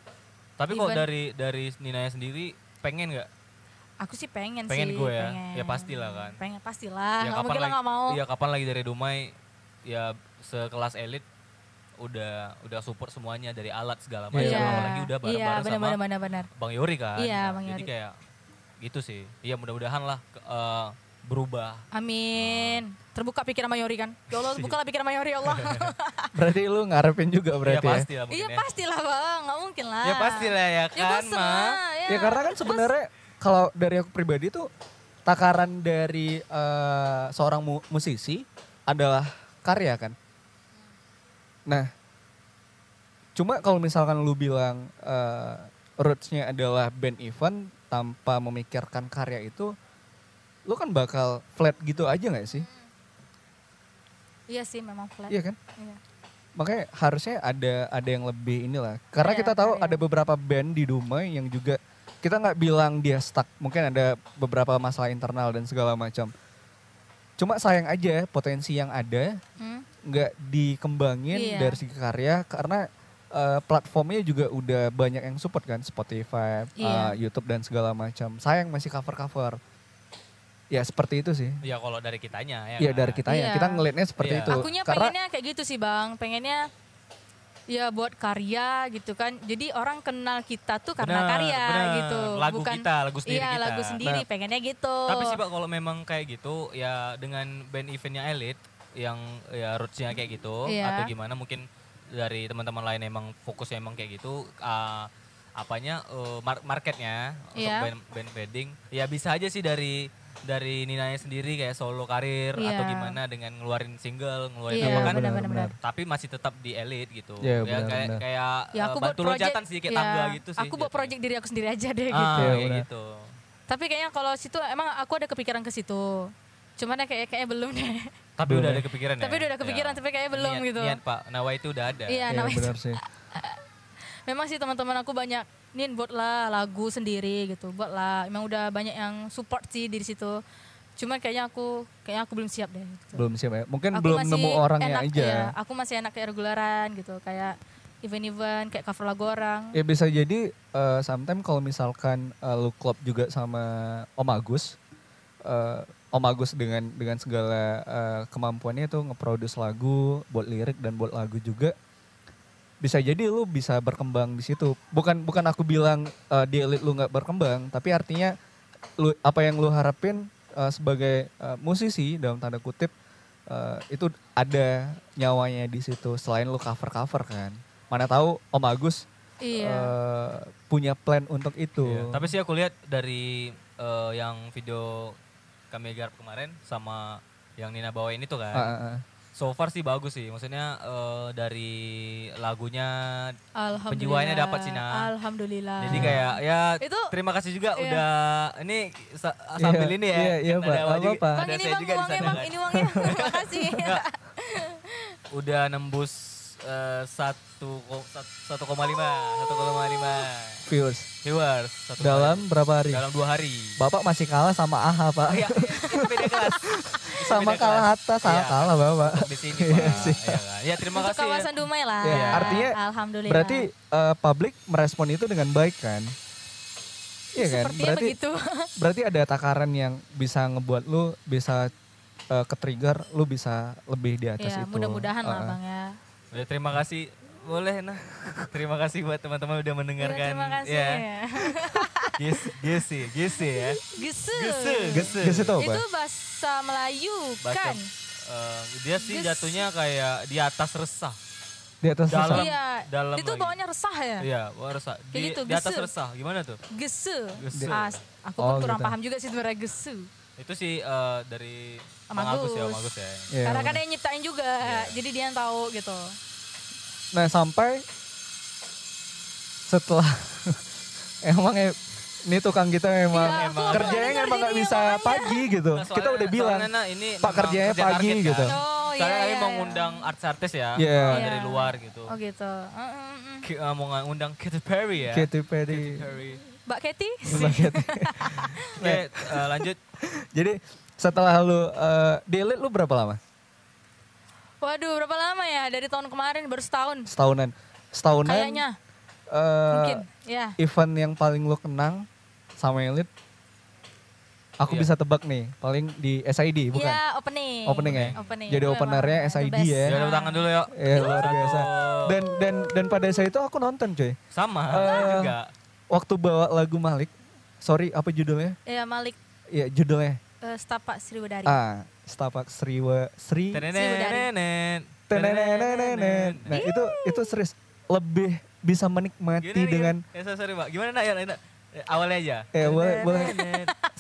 Tapi kalau
Even-
dari dari Ninaya sendiri pengen nggak?
Aku sih pengen,
Pengen
sih.
gue ya. Ya pastilah kan.
Pengen
ya
pastilah. nggak mungkin lah nggak mau.
Ya kapan lagi dari Dumai ya sekelas elit udah udah support semuanya dari alat segala macam
Iya.
apalagi udah
iya,
bareng-bareng
benar,
sama
benar, benar, benar.
Bang Yori kan.
Iya,
Nah,
Bang
Jadi
Yori.
kayak gitu sih. Iya mudah-mudahan lah ke- eh, berubah.
Amin. Terbuka pikiran Mayori kan. Ya Allah, bukalah pikiran Mayori
[LAUGHS]
ya Allah. [LAUGHS]
Berarti lu ngarepin juga
Iya
berarti ya.
pasti lah mungkin
iya
ya.
pastilah bang, nggak mungkin lah.
Ya pasti lah ya
Ya
kan,
bosen
Ma.
lah, ya.
Ya karena kan sebenarnya kalau dari aku pribadi tuh takaran dari eh, seorang mu- musisi adalah karya kan. Nah, cuma kalau misalkan lu bilang eh, rootsnya adalah band event tanpa memikirkan karya itu, lu kan bakal flat gitu aja nggak sih?
Iya sih memang flat.
Iya kan?
Iya.
Makanya harusnya ada ada yang lebih inilah. Karena
Iya,
kita tahu
karya.
ada beberapa band di Dumai yang juga kita nggak bilang dia stuck. Mungkin ada beberapa masalah internal dan segala macam. Cuma sayang aja potensi yang ada
Hmm?
nggak dikembangin
Iya.
dari segi karya karena eh, platformnya juga udah banyak yang support kan Spotify, eh,
Iya.
YouTube dan segala macam. Sayang masih cover-cover. Ya seperti itu sih.
Ya kalau dari kitanya ya.
Iya
kan?
dari kita ya.
Iya.
Kita ngelihatnya seperti
Iya.
itu.
Akunya
karena
pengennya kayak gitu sih bang, pengennya ya buat karya gitu kan. Jadi orang kenal kita tuh karena
Benar,
karya
benar.
gitu,
Lagu
bukan
kita, lagu sendiri
iya
kita.
lagu sendiri.
Nah.
Pengennya gitu.
Tapi sih Pak kalau memang kayak gitu ya dengan band eventnya elit yang ya rootsnya kayak gitu
Iya.
atau gimana mungkin dari teman-teman lain emang fokusnya emang kayak gitu ah, apanya eh, mar- marketnya untuk
Iya.
band band wedding ya bisa aja sih dari dari Ninanya sendiri kayak solo karir atau
Iya.
gimana dengan ngeluarin single ngeluarin
Iya,
apa kan
benar-benar.
tapi masih tetap di elit gitu ya
Iya, benar,
kayak
benar.
kayak
Ya
eh,
aku buat
batu
project.
loncatan sih kayak
ya,
tangga gitu sih
Aku buat
jatuhnya.
project diri aku sendiri aja
ah,
deh gitu.
Iya,
kayak
benar.
gitu
Tapi kayaknya kalau situ emang aku ada kepikiran ke situ. Cuman ya kayak kayaknya belum deh.
tapi udah ada kepikiran ya
Tapi udah ada kepikiran,
Ya.
tapi kayaknya belum
Niat-
gitu.
niat Pak Nawa itu udah ada
Iya,
Iya, namanya.
benar sih.
[LAUGHS] Memang sih teman-teman aku banyak nih buatlah lagu sendiri gitu, buatlah. Emang udah banyak yang support sih di situ. Cuman kayaknya aku kayaknya aku belum siap deh. Gitu.
belum siap ya mungkin
Aku
belum
masih
nemu orangnya
enak,
aja
ya, aku masih enak kayak regularan gitu, kayak event-event, kayak cover lagu orang.
ya bisa jadi eh, sometimes kalau misalkan eh, lu klop juga sama Om Agus eh, Om Agus dengan dengan segala eh, kemampuannya itu ngeproduce lagu buat lirik dan buat lagu juga bisa jadi lu bisa berkembang di situ bukan bukan aku bilang eh, di elit lu nggak berkembang tapi artinya lu apa yang lu harapin eh, sebagai eh, musisi dalam tanda kutip eh, itu ada nyawanya di situ selain lu cover cover kan mana tahu Om Agus
Iya.
eh, punya plan untuk itu
Iya, Tapi sih aku lihat dari eh, yang video kami garap kemarin sama yang Nina bawain itu
Ah,
kan.
ah, ah.
So far sih bagus sih. Maksudnya eh, dari lagunya
Alhamdulillah.
penjiwanya dapat sih, Nah.
Alhamdulillah.
jadi kayak ya
Ah. Itu
terima kasih juga
Iya.
udah ini sa- sambil
Iya,
ini ya.
iya, iya,
kan
Pak.
ada
Nggak
juga-
apa-apa.
Bang
ada
ini
saya
bang
juga di
uangnya
sana
bang,
kan.
ini uangnya. Terima kasih.
Udah nembus eh, satu ko- sat- 1,5 1,5
viewers
viewers satu
dalam berapa hari
dalam dua
[LAUGHS]
hari.
bapak masih kalah sama Aha pak
Iya, itu beda kelas.
sama
beda
kalah
kelas.
Hatta sama
Iya.
kalah bapak
di sini Pak. Iya kan? Ya, terima
Untuk
kasih. ya.
kawasan Dumai lah.
Iya, artinya
Alhamdulillah.
berarti eh, publik merespon itu dengan baik kan iya kan
Sepertinya
berarti
begitu. [LAUGHS]
berarti ada takaran yang bisa ngebuat lu bisa eh, ke-trigger lu bisa lebih di atas
Ya,
itu.
mudah-mudahan lah
Ah, ah.
Bang ya.
Ya, terima kasih. Boleh nah. [LAUGHS] Terima kasih buat teman-teman udah
Ya,
Iya,
mendengarkan.
Terima kasih.
Ya. Gis- Gisi, gisi ya.
Gese.
Gese, gese.
Guys, itu apa?
Itu bahasa Melayu
Bahasa-
kan?
Eh, dia sih
Gis-
jatuhnya kayak di atas resah.
Di atas
Dalam.
susah.
Iya.
dalam
Itu
lagi.
bawahnya resah ya?
Iya, wah, resah. Di,
Kayak gitu,
di atas
gese.
resah. Gimana tuh?
Gese.
Gese.
Ah, aku pun
Oh,
kurang
gitu.
paham juga sih sebenarnya gese.
Itu sih eh, dari
Om
Mang Agus ya,
Agus.
Om Agus ya.
Iya,
Karena kan
bener.
dia yang nyiptain juga,
Iya.
jadi dia yang tahu gitu.
Nah sampai setelah [LAUGHS] emang ya, ini tukang kita memang
Iya, aku
kerjanya
nggak
emang nggak
ngerti
bisa
dia,
pagi gitu.
Nah,
kita
soalnya-
udah bilang
soalnya, nah, ini
Pak
memang
kerjanya
kerja
pagi
target,
gitu.
kan.
Oh, iya,
Soalnya kami
iya,
mau
iya.
ngundang artis-artis ya,
Iya.
dari
Iya.
luar gitu.
Oh gitu. Mm, mm, mm.
Ki- eh, mau ngundang Katy Perry ya.
Katy Perry.
Perry.
Mbak Kety?
Mbak
[LAUGHS]
Katy.
Iya. Oke, eh, lanjut.
Jadi setelah lu eh, delete lu berapa lama?
Waduh, berapa lama ya? Dari tahun kemarin baru setahun.
Setahunan. Setahunan.
Kayaknya,
eh,
mungkin. Ya.
Event yang paling lu kenang sama elit Aku
Iya.
bisa tebak nih, paling di SID bukan?
Iya, opening.
Opening ya.
Opening.
Jadi
Itu emang
openernya
the
SID
best.
ya.
Ya, tepuk tangan dulu yuk.
Eh, luar biasa.
Satu.
Dan dan dan pada saat itu aku nonton coy.
sama
Eh,
juga.
Waktu bawa lagu Malik, sorry apa judulnya?
Iya, Malik
Ya judulnya.
eh, Setapak Sriwedari.
Ah, Setapak Sriwa Sri.
Tenenenenet.
Tenenenenenet. Nah itu itu serius lebih bisa menikmati
Gimana nih,
dengan
gimana? ya, sorry, sorry, Pak. Gimana nak ya? Nak? Eh, Awalnya aja.
Eh, boleh, boleh.
[LAUGHS]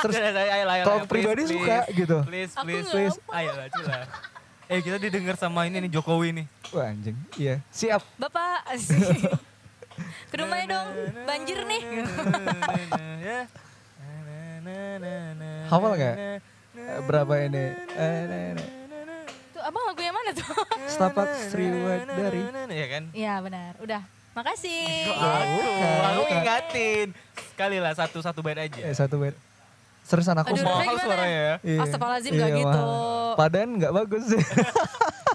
Terus,
Terus
kalau aku pribadi suka gitu.
Please,
Aku
please,
nggak
please. Ayo lah, cila. Eh, kita didengar sama ini nih Jokowi nih.
Wah anjing, iya siap.
Bapak. [LAUGHS] Ke rumahnya dong, banjir [LAUGHS] nih.
Ya.
Hafal nggak? Eh, Berapa ini? Eh, nah, nah.
Tuh, abang lagu yang mana tuh?
Setapak Sriwadari.
Iya kan?
[LAUGHS] Iya, benar. Udah. Makasih.
Aku,
Iya, bukan,
aku
bukan.
ingatin. Sekali lah, satu-satu bait aja.
Eh satu menit. Seriusan aku
Aduh,
mau.
Mahal
gimana?
suaranya ya.
Iya.
Astagfirullahaladzim, nggak
Iya,
gitu.
mahal. Padahal nggak
[LAUGHS]
bagus sih.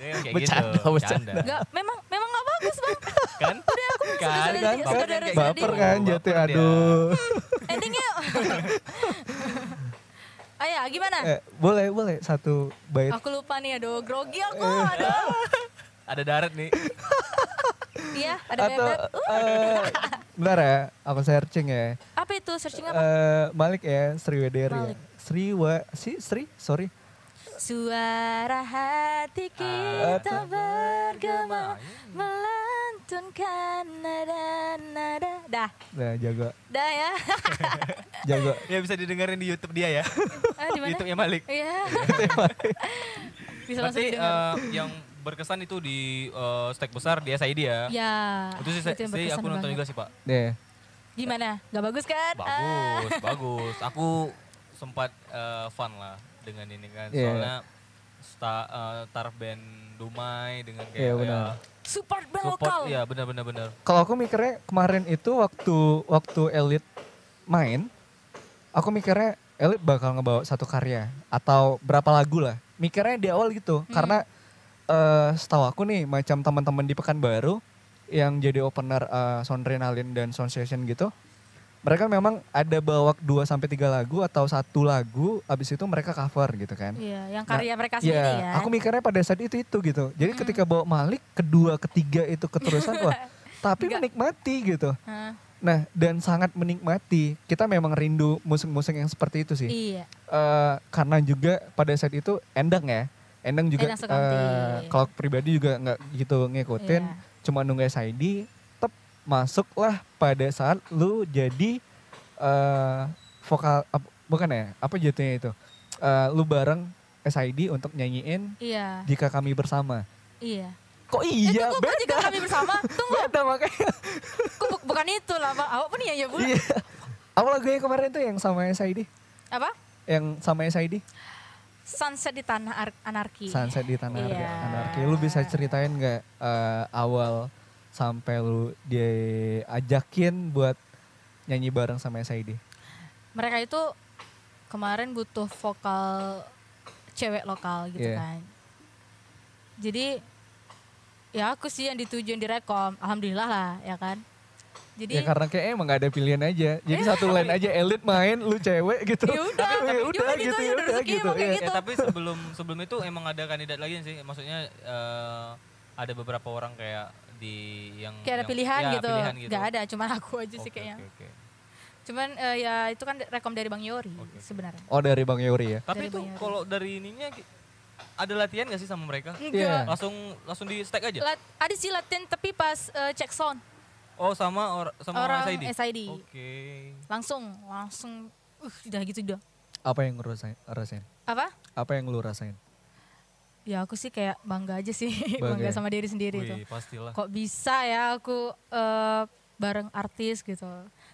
Dia kayak
Bercanda,
gitu.
bercanda.
Enggak, memang memang nggak bagus,
[LAUGHS]
Bang.
Kan?
aku
kan?
kan,
sudah- sudah-
kan,
sudah- sudah-
[LAUGHS] baper
sudah-
kan
Baper
jatuh
dia.
aduh. [LAUGHS]
Endingnya. Ayah, gimana?
Eh, boleh boleh satu bait.
Aku lupa nih, aduh, grogi aku.
Eh.
Aduh.
Ada darat nih.
Iya, ada
Atau
bebek.
eh bentar ya, aku searching ya.
Apa itu searching apa?
Eh Malik ya, Sriwedari ya.
Malik.
Sriwa, si Sri, sorry.
Suara hati kita bergema melantunkan nada-nada. Dah,
Nah, jago,
dah ya.
jago.
Ya bisa didengerin di YouTube dia ya.
Ah, di mana?
YouTube-nya Malik.
[LAUGHS] Iya. Bisa langsung
Berarti eh,
dengar.
yang berkesan itu di eh, stek besar di SID ya.
Ya.
Itu sih,
itu yang
sih
berkesan
aku nonton
banget.
juga sih Pak.
Nih,
Gimana? Gak bagus kan? Ah.
Bagus, bagus. Aku sempat eh, fun lah dengan ini kan.
Iya.
Soalnya sta- eh, taraf band Dumai dengan kayak
Iya, benar.
ya,
Support band
support.
lokal.
Iya benar benar benar.
kalau aku mikirnya kemarin itu waktu waktu Elit main, aku mikirnya Elit bakal ngebawa satu karya atau berapa lagu lah. Mikirnya di awal gitu, karena eh setahu aku nih macam teman-teman di Pekanbaru yang jadi opener eh, Soundrenalin dan Sound Session gitu, mereka memang ada bawa 2 sampai tiga lagu atau satu lagu, abis itu mereka cover gitu kan.
Iya, yang karya mereka
Iya,
sendiri ya.
aku mikirnya pada saat itu itu gitu. Jadi ketika bawa Malik kedua, ketiga itu
[LAUGHS]
keterusan wah. Tapi menikmati gitu.
Hah,
Nah, dan sangat menikmati. Kita memang rindu musik-musik yang seperti itu sih.
Iya.
Eh, karena juga pada saat itu Endang ya. Endang juga
Endang Sukamti.
eh, kalau aku pribadi juga nggak gitu ngikutin,
Iya.
cuma nunggu SID, tep masuklah pada saat lu jadi eh vokal ap- bukan ya, apa jatuhnya itu? Eh, lu bareng SID untuk nyanyiin
Iya.
jika kami bersama.
Iya.
Kok
Eh,
iya,
tunggu,
Beb?
kok jika kami bersama? Tunggu,
Beda makanya.
kok bu- bukan itu lah, Bang. Awak pun iya, ya, Bu.
Iya. Apa lagunya kemarin tuh yang sama SID?
Apa?
Yang sama SID?
Sunset di Tanah Ar- Anarki.
Sunset di Tanah Arga-
Iya.
Anarki. Lu bisa ceritain nggak eh, awal sampai lu diajakin buat nyanyi bareng sama SID?
Mereka itu kemarin butuh vokal cewek lokal gitu
Iya.
kan. Jadi ya aku sih yang ditujuin di Rekom. Alhamdulillah lah, ya kan. Jadi Iya.
Ya karena kayak emang gak ada pilihan aja. Jadi satu line aja elit main, lu cewek gitu.
Ya udah,
[LAUGHS]
tapi
ya
gimana gitu aja, udah rezekinya emang kayak
iya.
gitu.
Ya, tapi sebelum sebelum itu emang ada kandidat lagi sih. Maksudnya eh, ada beberapa orang kayak di yang
kayak ada
yang-
pilihan,
ya,
gitu.
Pilihan
Gak ada, cuman aku aja sih
Oke,
kayaknya.
oke, oke.
Cuman eh, ya itu kan rekom dari Bang Yori sebenarnya.
Oh dari Bang Yori ya.
Tapi
Dari
itu
Bayari.
kalau dari ininya ki- ada latihan gak sih sama mereka?
Iya.
Enggak.
Langsung langsung di stack aja.
Lat, ada sih latihan tapi pas eh, cek sound
Oh sama or, sama
orang
SID.
SID.
Oke.
Langsung, langsung uh udah gitu udah.
Apa yang lu rasain? rasain?
Apa?
Apa yang lu rasain?
Ya aku sih kayak bangga aja sih, [LAUGHS]
Bangga.
bangga, sama diri sendiri itu.
ya? Wih, pastilah.
Kok bisa ya aku eh, bareng artis gitu.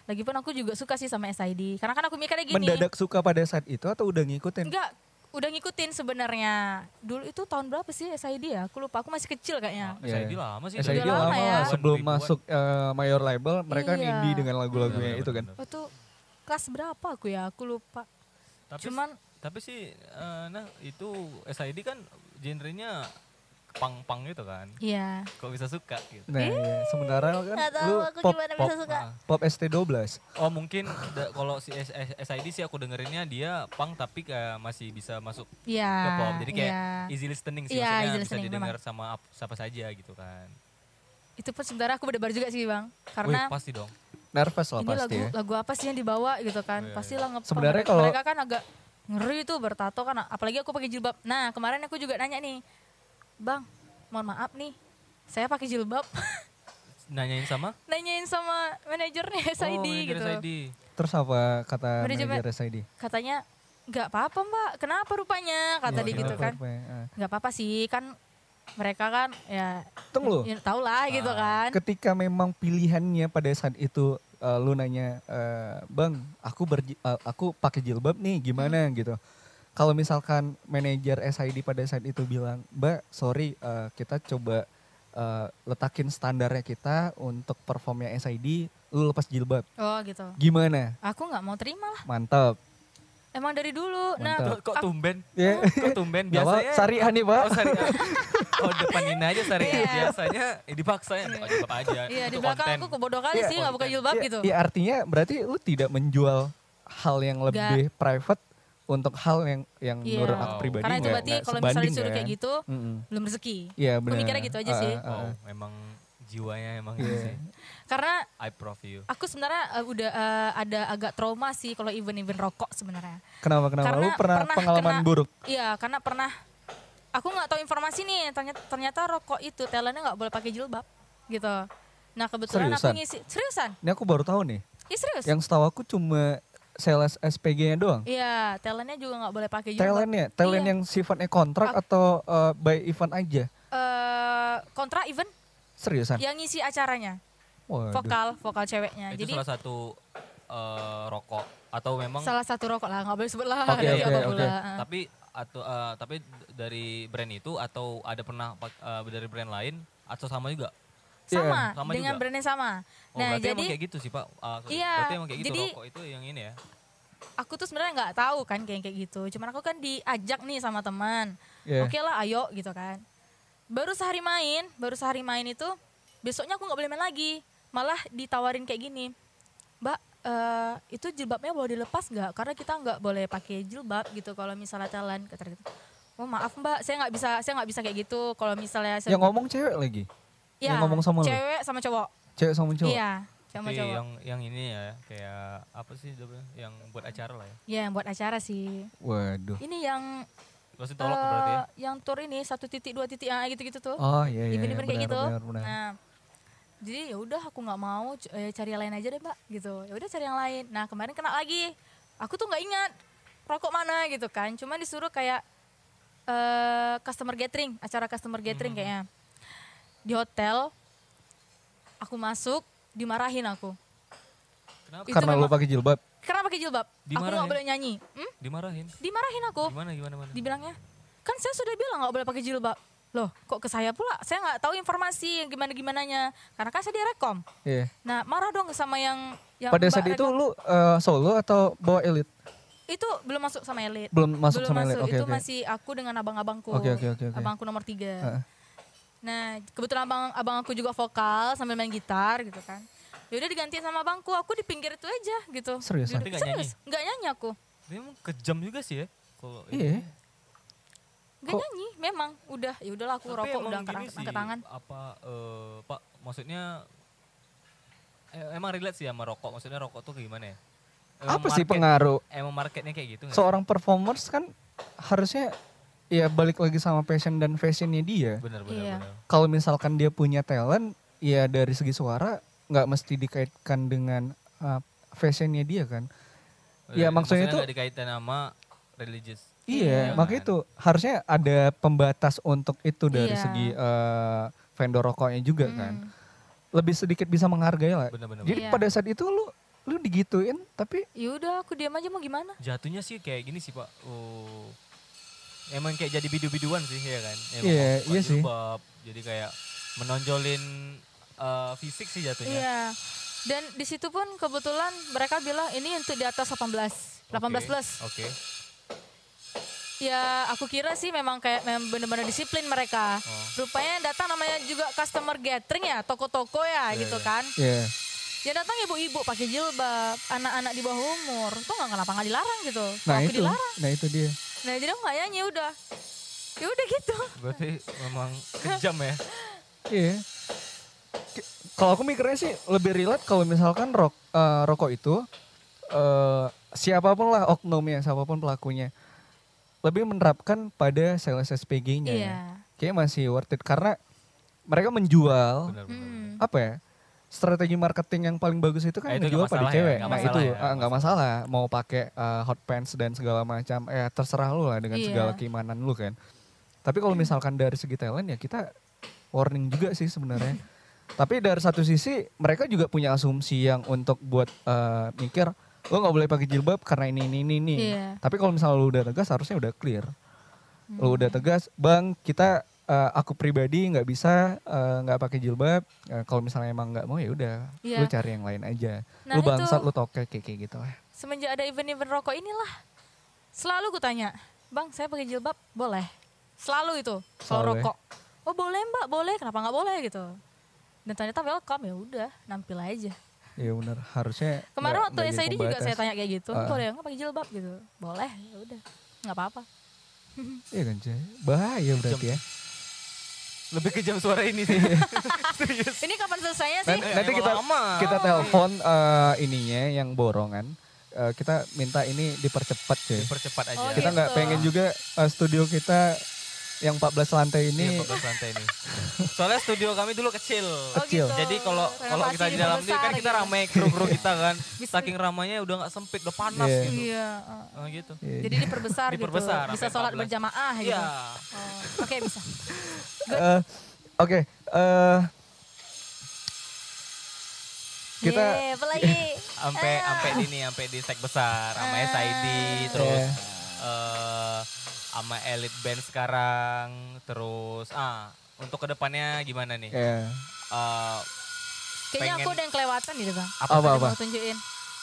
Lagipun aku juga suka sih sama SID. Karena kan aku mikirnya gini.
Mendadak suka pada saat itu atau udah ngikutin?
Enggak, udah ngikutin sebenarnya. Dulu itu tahun berapa sih SID ya? Aku lupa, aku masih kecil kayaknya.
Iya.
SID lama sih.
SID
Udah
lama,
lama ya.
lah. sebelum
Ribuan.
masuk eh, mayor label mereka
Iya.
indie dengan
Benar,
lagu-lagunya itu kan.
benar, benar.
Waktu kelas berapa aku ya? Aku lupa.
Tapi
Cuman
tapi sih eh, nah itu SID kan genrenya pang-pang gitu kan.
Iya.
Kok bisa suka gitu.
Nah, iya. sementara kan
Nggak tahu
lu
aku
pop,
gimana
pop,
bisa suka.
Ah.
pop ST12.
Oh mungkin da- kalau si S- S- SID sih aku dengerinnya dia pang tapi kayak masih bisa masuk
Iya.
ke pop. Jadi kayak
iya.
easy listening sih
Iya,
maksudnya
easy
bisa
listening,
didengar sama ap- siapa saja gitu kan.
Itu pun sebenarnya aku berdebar juga sih bang, karena
Wih, pasti dong.
Nervous lah
ini
pasti
lagu
ya.
lagu apa sih yang dibawa gitu kan?
Iya,
Pasti lah ngepang.
Sebenarnya
mereka,
kalau-
mereka kan agak ngeri tuh bertato kan, apalagi aku pakai jilbab. Nah kemarin aku juga nanya nih, bang, mohon maaf nih, saya pakai jilbab. [LAUGHS]
Nanyain sama
Nanyain sama manajernya
Oh,
SID
manajer
gitu.
SID.
Terus apa kata
Manajemen-
manajer SID?
Katanya nggak apa-apa mbak, kenapa rupanya? Kata
Iya,
dia gitu
kenapa,
kan.
kenapa ya? Ah.
nggak apa-apa sih kan mereka kan ya,
Tunggu lu.
ya tau lah gitu
Ah.
kan
ketika memang pilihannya pada saat itu eh, lu nanya eh, bang aku berji- eh, aku pakai jilbab nih gimana gitu kalau misalkan manajer SID pada saat itu bilang mbak sorry eh, kita coba eh, letakin standarnya kita untuk performnya SID lu lepas jilbab
oh gitu
gimana
aku nggak mau terima lah
mantap
emang dari dulu nah
Tuh, kok
aku-
tumben?
ya
Kok tumben
Nggak apa,
biasanya?
sarihan nih pak
Oh, sari. oh, depanin aja sari.
Iya.
Biasanya eh, dipaksa ya. Oh, jilbab aja.
iya di
Itu
belakang
konten.
aku kebodoh kali
Iya,
sih nggak buka
konten.
jilbab
Ya-
gitu
ya artinya berarti lu tidak menjual hal yang lebih private untuk hal yang yang
Iya.
menurut aku
Wow.
pribadi
karena itu
nggak-
berarti
nggak
kalau misalnya
sebanding
disuruh kayak
kan.
gitu
Mm-mm.
belum rezeki
Iya
Aku
benar.
mikirnya gitu aja sih.
Ah, ah, ah,
Wow,
ah.
emang Oh, jiwanya emang
Iya.
ini sih.
karena
I prove you.
aku sebenarnya eh, udah eh, ada agak trauma sih kalau event-event rokok sebenarnya
Kenapa kenapa?
Karena
lu pernah,
pernah
pengalaman
kena-
buruk?
iya karena pernah aku nggak tahu informasi nih ternyata ternyata rokok itu talentnya nggak boleh pakai jilbab gitu nah kebetulan
Seriusan?
aku ngisi seriusan
Ini aku baru tahu nih.
Ih, serius
Yang setahu aku cuma sales SPG-nya doang.
Iya, talentnya juga nggak boleh pakai jilbab.
Talentnya, talent ya?
Iya.
yang sifatnya kontrak atau eh, by event aja.
Eh, kontra event
Seriusan?
yang ngisi acaranya,
Waduh.
Iya.
Ya,
vokal, vokal ceweknya.
Itu
Nah, Jadi
salah satu eh, rokok atau memang
salah satu rokok lah, nggak boleh sebut lah.
Oke,
nanti
oke,
apa pula.
oke.
Heeh.
tapi atau eh, tapi dari brand itu atau ada pernah pak- eh, dari brand lain atau sama juga? Iya.
Sama,
Sama
dengan
juga.
brandnya sama.
Oh,
nah,
berarti
jadi
emang kayak gitu sih, Pak. Ah, sorry.
Iya,
Berarti emang kayak gitu
jadi-
rokok itu yang ini ya.
aku tuh sebenarnya nggak tahu kan kayak kayak gitu. Cuman aku kan diajak nih sama teman.
Iya.
Oke lah, ayo gitu kan. Baru sehari main, baru sehari main itu besoknya aku nggak boleh main lagi. Malah ditawarin kayak gini, Mbak, eh, itu jilbabnya boleh dilepas nggak? Karena kita nggak boleh pakai jilbab gitu kalau misalnya talent kata gitu. Oh maaf Mbak, saya nggak bisa, saya nggak bisa kayak gitu. Kalau misalnya saya
Yang ngomong cewek lagi.
Ya,
yang ngomong sama lu?
cewek sama cowok.
Cewek sama cowok.
Iya, sama
Tapi
cowok.
yang yang ini ya kayak apa sih namanya? yang buat acara lah ya.
Ya, yang buat acara sih.
Waduh.
Ini yang
Terus ditolak
eh,
berarti ya.
yang tour ini satu titik dua titik ah, gitu-gitu tuh.
Oh iya iya.
Event-event
benar,
kayak gitu.
benar, benar.
Nah, jadi ya udah aku nggak mau c- eh, cari yang lain aja deh mbak gitu. Ya udah cari yang lain. Nah kemarin kena lagi. Aku tuh nggak ingat rokok mana gitu kan. Cuman disuruh kayak eh customer gathering, acara customer gathering
Hmm.
kayaknya di hotel. Aku masuk dimarahin aku.
Kenapa?
itu
Karena lu
memang-
pakai jilbab.
Kenapa pakai jilbab? Aku
Dimarahin?
nggak boleh nyanyi. Hmm?
Dimarahin.
Dimarahin aku.
Gimana gimana mana?
Dibilangnya kan saya sudah bilang nggak boleh pakai jilbab. Loh, kok ke saya pula? Saya nggak tahu informasi yang gimana gimananya. Karena kan saya di rekom.
Iya.
Nah, marah dong sama yang yang
Pada
Mbak
saat itu
Retno.
lu eh, solo atau bawa elit?
itu belum masuk sama elit.
Belum masuk
belum
sama
masuk.
elit. Oke
itu
oke.
masih aku dengan abang-abangku.
Oke, oke, oke, oke.
Abangku nomor tiga.
Heeh.
Nah, kebetulan abang abang aku juga vokal sambil main gitar gitu kan. Yaudah diganti sama abangku, aku di pinggir itu aja gitu.
Serius,
Tapi
Duduk-
nggak nyanyi?
serius, nggak nyanyi aku.
Dia emang kejam juga sih ya. Kalau
Iya.
Gak
Kok-
nyanyi, memang udah ya udahlah aku
Tapi
rokok
emang
udah angkat,
gini
angkat,
sih,
angkat tangan.
Apa eh, Pak maksudnya eh, emang relate sih sama rokok. Maksudnya rokok tuh kayak gimana ya? Emang
Apa sih
market-
pengaruh
Emang marketnya kayak gitu nggak sih?
seorang performers kan harusnya ya balik lagi sama passion dan fashionnya dia.
Bener bener
Iya.
bener.
Kalau misalkan dia punya talent, ya dari segi suara nggak mesti dikaitkan dengan uh, fashionnya dia kan. Ya,
Eh,
maksudnya tuh-
nggak dikaitin sama religious. Iya
Iya, makanya
kan?
itu harusnya ada pembatas untuk itu dari
Iya.
segi uh, vendor rokoknya juga kan.
Hmm.
Lebih sedikit bisa menghargai lah.
Bener bener.
Jadi
Iya.
pada saat itu lu lu digituin tapi
Ya udah aku diam aja mau gimana?
Jatuhnya sih kayak gini sih Pak. Oh. Emang kayak jadi bidu-biduan sih ya kan. Emang
Iya,
pakai
iya sih.
jilbab, Jadi kayak menonjolin eh, fisik sih jatuhnya.
Iya. Dan di situ pun kebetulan mereka bilang ini untuk di atas 18, 18
Oke,
plus.
Oke.
ya aku kira sih memang kayak memang benar-benar disiplin mereka. Rupanya datang namanya juga customer gathering ya, toko-toko ya
Iya,
gitu
iya.
kan.
Iya.
Ya datang ibu-ibu pakai jilbab, anak-anak di bawah umur. Tuh nggak kenapa nggak dilarang gitu.
Nah
Kalau aku
itu,
dilarang.
nah itu dia.
Nah jadi aku nggak nyanyi udah. Ya udah gitu.
Berarti memang kejam ya.
Iya. Ki- Kalau aku mikirnya sih lebih relate kalau misalkan rok, eh, rokok itu eh siapapun lah oknumnya, siapapun pelakunya lebih menerapkan pada sales SPG-nya. ya.
Iya.
Kayaknya masih worth it karena mereka menjual
Benar benar.
Hmm.
apa ya? Strategi marketing yang paling bagus itu kan
Nah, itu nggak
menjual pada
masalah ya,
cewek.
nggak
nah itu
masalah ya,
ah, nggak masalah. mau pakai eh, hot pants dan segala macam, eh terserah lu lah dengan
Iya. Hmm.
segala keimanan lu kan. Tapi kalau misalkan dari segi talent ya kita warning juga sih
[LAUGHS]
sebenarnya. Tapi dari satu sisi mereka juga punya asumsi yang untuk buat eh, mikir lo nggak boleh pakai jilbab karena ini ini ini. ini.
Iya.
Tapi kalau misalnya lu udah tegas harusnya udah clear. Lu udah
Hmm.
tegas, bang kita eh, aku pribadi nggak bisa eh, nggak pakai jilbab. Eh, kalau misalnya emang nggak mau ya udah,
Iya.
lu cari yang lain aja.
Nah,
lu bangsat,
itu.
lu tokek kayak kayak gitu lah.
Semenjak ada event-event rokok inilah selalu gue tanya, "Bang, saya pakai jilbab boleh?" Selalu itu kalau
Selalu ya.
rokok. "Oh, boleh, Mbak, boleh. Kenapa nggak boleh?" gitu. Dan ternyata welcome ya udah, nampil aja.
Iya benar, harusnya.
Kemarin
nggak-
waktu
nggak jadi
SID juga
pembatas.
saya tanya kayak gitu,
Ah.
"Boleh nggak pakai jilbab?" gitu. "Boleh." Ya udah. Nggak
[LAUGHS]
apa-apa.
Iya kan Jay? bahaya berarti ya.
Lebih kejam suara ini sih. Serius.
Ini kapan selesainya sih?
Nanti, Iya. nanti kita
Lama.
kita telepon eh, ininya yang borongan. Eh, kita minta ini dipercepat Jay.
Dipercepat aja.
Oh,
Kita nggak
gitu.
pengen juga eh, studio kita yang 14
Iya,
lantai ini
14 lantai ini. Soalnya studio kami dulu kecil.
Oh,
kecil.
Jadi kalau kalau
Renovasi
kita di dalam ini kan
diperbesar
kita
gitu.
ramai kru-kru kita
[LAUGHS]
kan. Saking ramainya udah nggak sempit, udah panas
Iya.
gitu.
Iya. ah.
Oh, gitu.
Iya.
Jadi
[LAUGHS]
diperbesar,
Diperbesar,
gitu. Bisa
sampai
sholat
14.
berjamaah gitu.
Iya.
Oh, Oke, bisa.
Eh, Oke, eh, kita
Yeay, apa
[LAUGHS]
lagi?
Sampai
Eh.
sampai ini sampai di tag besar sama SID terus
Iya.
eh sama Elite Band sekarang terus ah untuk kedepannya gimana
Iya.
nih?
ya,
Eh,
Kayaknya aku
pengen-
udah yang kelewatan gitu bang.
apa
Ada
apa,
Mau tunjukin.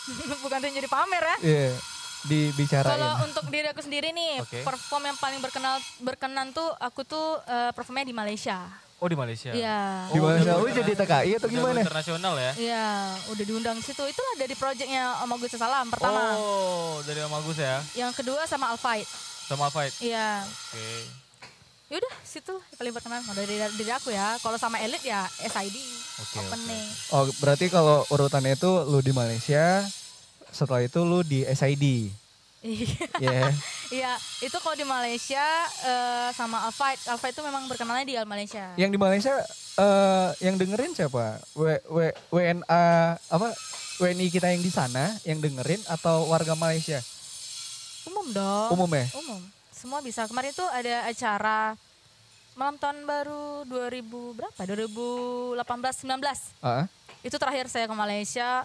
[LAUGHS] Bukan tunjuk di pamer
Ah,
ya.
Iya,
Kalau
dibicarain.
untuk diri aku sendiri nih,
Oke.
perform yang paling berkenal berkenan tuh aku tuh eh, performnya di Malaysia.
oh di Malaysia.
Iya.
Di mana
Oh,
lu jadi TKI atau
Jago
gimana?
internasional ya.
Iya, udah diundang situ. Itulah dari projectnya Om Agus Salam pertama.
Oh, dari Amagus ya.
Yang kedua sama Alfight.
Sama Fight.
Iya.
Oke.
Yaudah, situ lah yang paling berkenan Kalau dari diri aku ya. Kalau sama Elit ya SID.
Oke,
opening. [LAUGHS]
Oh, berarti kalau urutannya itu lu di Malaysia, setelah itu lu di SID.
Iya.
Ya,
Iya, itu kalau di Malaysia eh, sama Alfight. Alfight itu memang berkenalnya di Al Malaysia.
Ya.
yang di Malaysia eh yang dengerin siapa? W, W, WNA apa? WNI kita yang di sana yang dengerin atau warga Malaysia
Umum dong.
umum ya?
Umum. Semua bisa. Kemarin itu ada acara malam tahun baru 2000 berapa? 2018 19.
Ah,
Itu terakhir saya ke Malaysia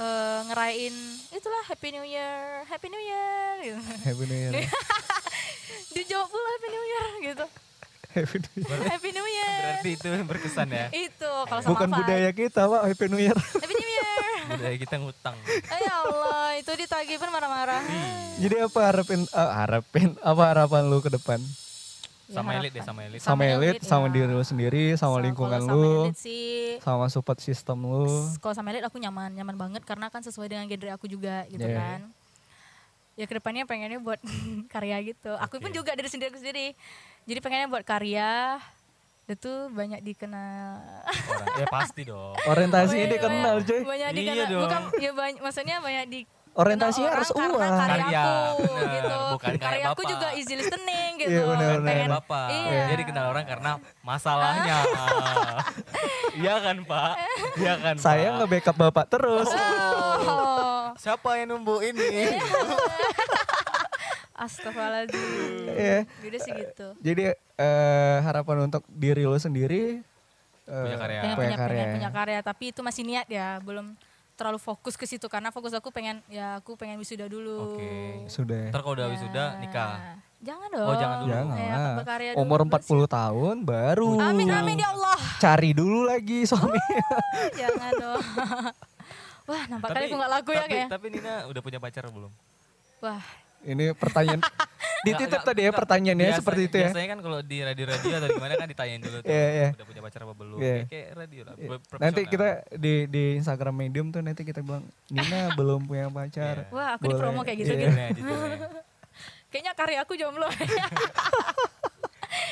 eh, ngerayain itulah Happy New Year, Happy New Year gitu. [LAUGHS]
Happy New Year.
Dijawab pula Happy New Year gitu.
Happy New Year.
Happy New Year.
Berarti itu yang berkesan ya.
Itu kalau sama
Bukan
Alphard.
budaya kita, Pak, Happy New Year. [LAUGHS]
Happy New Year.
Budaya kita ngutang.
Eh, ya Allah, itu ditagih pun marah-marah.
Jadi apa harapin eh, harapin apa harapan lu ke depan? Iya,
Sama
Ya,
elit deh, sama elit.
Sama,
Sama
elit,
elit,
sama
ya.
diri lu sendiri, sama
Sa-
lingkungan
kalau
lu,
sama elit sih Iya.
sama support system lu.
kalau sama elit aku nyaman nyaman banget karena kan sesuai dengan genre aku juga gitu
Yeah.
kan ya kedepannya pengennya buat [LAUGHS] karya gitu aku pun
Oke.
juga dari sendiri aku sendiri jadi pengennya buat karya itu banyak
[LAUGHS]
dikenal
Orang. Ya pasti dong.
Orientasinya
Banyak-
dikenal, cuy.
banyak
Iya
dikenal
dong.
bukan ya banyak maksudnya banyak di
Orientasinya
orang
harus
karena
uang.
kan. karyaku
Karya, bener.
gitu
Bukan karya
karyaku
Bapak.
juga easy listening gitu
Iya, bener,
Bukan karena
Pengen-
bapak.
Iya.
Jadi kenal orang karena
[LAUGHS]
masalahnya. Iya kan Pak? Iya kan
Saya
Pak?
nge-backup Bapak terus.
oh,
Siapa yang numbu
Iya.
ini?
astagfirullahaladzim
Iya.
Yaudah sih gitu
Jadi eh, harapan untuk diri lu sendiri eh,
Punya karya.
pengen
Punya
punya, pengen punya karya tapi itu masih niat ya belum terlalu fokus ke situ karena fokus aku pengen ya aku pengen wisuda dulu
Oke.
Sudah.
Ntar kalau udah
Ya.
wisuda
Iya.
nikah.
jangan dong
Oh, jangan dulu.
Jangan Uh.
Eh, aku
lah.
berkarya dulu,
Nah, Umur 40 tahun baru.
bersiap. amin amin ya Oh. Allah
Cari dulu lagi suami. [LAUGHS]
jangan dong [LAUGHS] wah nampak kali aku nggak laku ya
tapi,
kayaknya
Tapi Nina udah punya pacar belum?
wah
Ini pertanyaan Di
Nggak-
titip
nggak-
tadi ya
nggak.
pertanyaannya
Biasanya-
seperti itu ya.
Biasanya kan kalau di radio-radio atau gimana kan ditanyain dulu tuh.
Iya, iya.
Udah punya pacar apa belum.
Iya.
Kayak- Kayak radio lah.
Iya.
profesional.
Nanti kita di di Instagram Medium tuh nanti kita bilang Nina belum punya pacar.
Iya.
Wah, aku di
Boleh.
promo kayak gitu.
Iya.
Judulnya, judulnya.
[LAUGHS]
Kayaknya karya aku jomblo. [LAUGHS]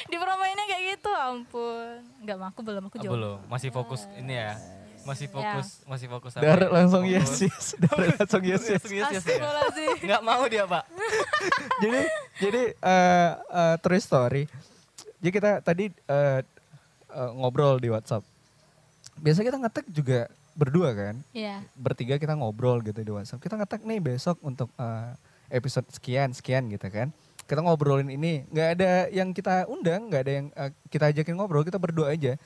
di promoinnya kayak gitu, ampun. Enggak, mah, aku belum, aku Eh,
Ah,
jomblo.
belum. Masih fokus ini ya. Masih fokus, masih fokus apa
Dar
ya? [LAUGHS]
langsung
Fokus.
yes yes. Dar langsung iya yes yes.
Langsung yes, yes ya?
Astagfirullahaladzim.
Nggak mau dia, Pak.
jadi jadi eh eh, true story. Jadi kita tadi eh, eh, ngobrol di WhatsApp. Biasa kita ngetek juga berdua kan.
Iya.
[LAUGHS]
Bertiga kita ngobrol gitu di WhatsApp. Kita ngetek nih besok untuk eh, episode sekian sekian gitu kan. Kita ngobrolin ini, nggak ada yang kita undang, nggak ada yang eh, kita ajakin ngobrol, kita berdua aja.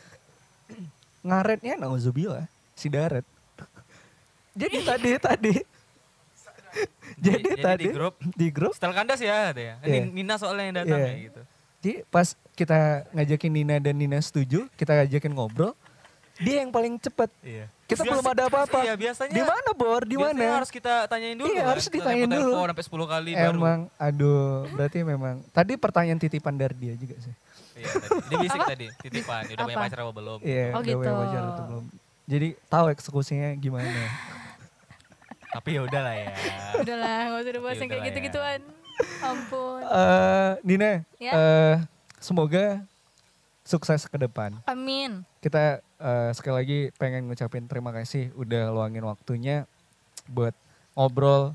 [CLEARS THROAT] Ngaretnya nauzubillah, si Daret. [LAUGHS] jadi tadi tadi. jadi,
Jadi- jadi
tadi
di grup.
di grup
Setel kandas ya, dia.
Iya.
Ini Nina soalnya yang datang
Iya.
ya gitu.
Jadi pas kita ngajakin Nina dan Nina setuju, kita ngajakin ngobrol, dia yang paling cepet.
Iya.
Kita
Biasa-
belum ada apa-apa.
Iya, biasanya.
Di mana Bor? Di
biasanya
mana?
harus kita tanyain dulu.
Iya,
kan?
harus ditanyain
Telepon-
dulu.
telepon sampai 10 kali baru.
Emang, aduh, berarti memang. Tadi pertanyaan titipan dari dia juga sih.
Iya, tadi. Dia bisik tadi, titipan. Udah punya
Apa?
pacar apa belum?
Iya,
Oh,
udah punya
gitu.
pacar atau belum? Jadi tahu eksekusinya gimana?
Tapi ya udahlah ya.
Iya.
Udahlah, gak usah dibahas yang kayak
Yaudahlah ya.
gitu-gituan. Ampun.
Eh, Nina,
Ya.
eh, semoga sukses ke depan.
Amin.
kita eh, sekali lagi pengen ngucapin terima kasih udah luangin waktunya buat ngobrol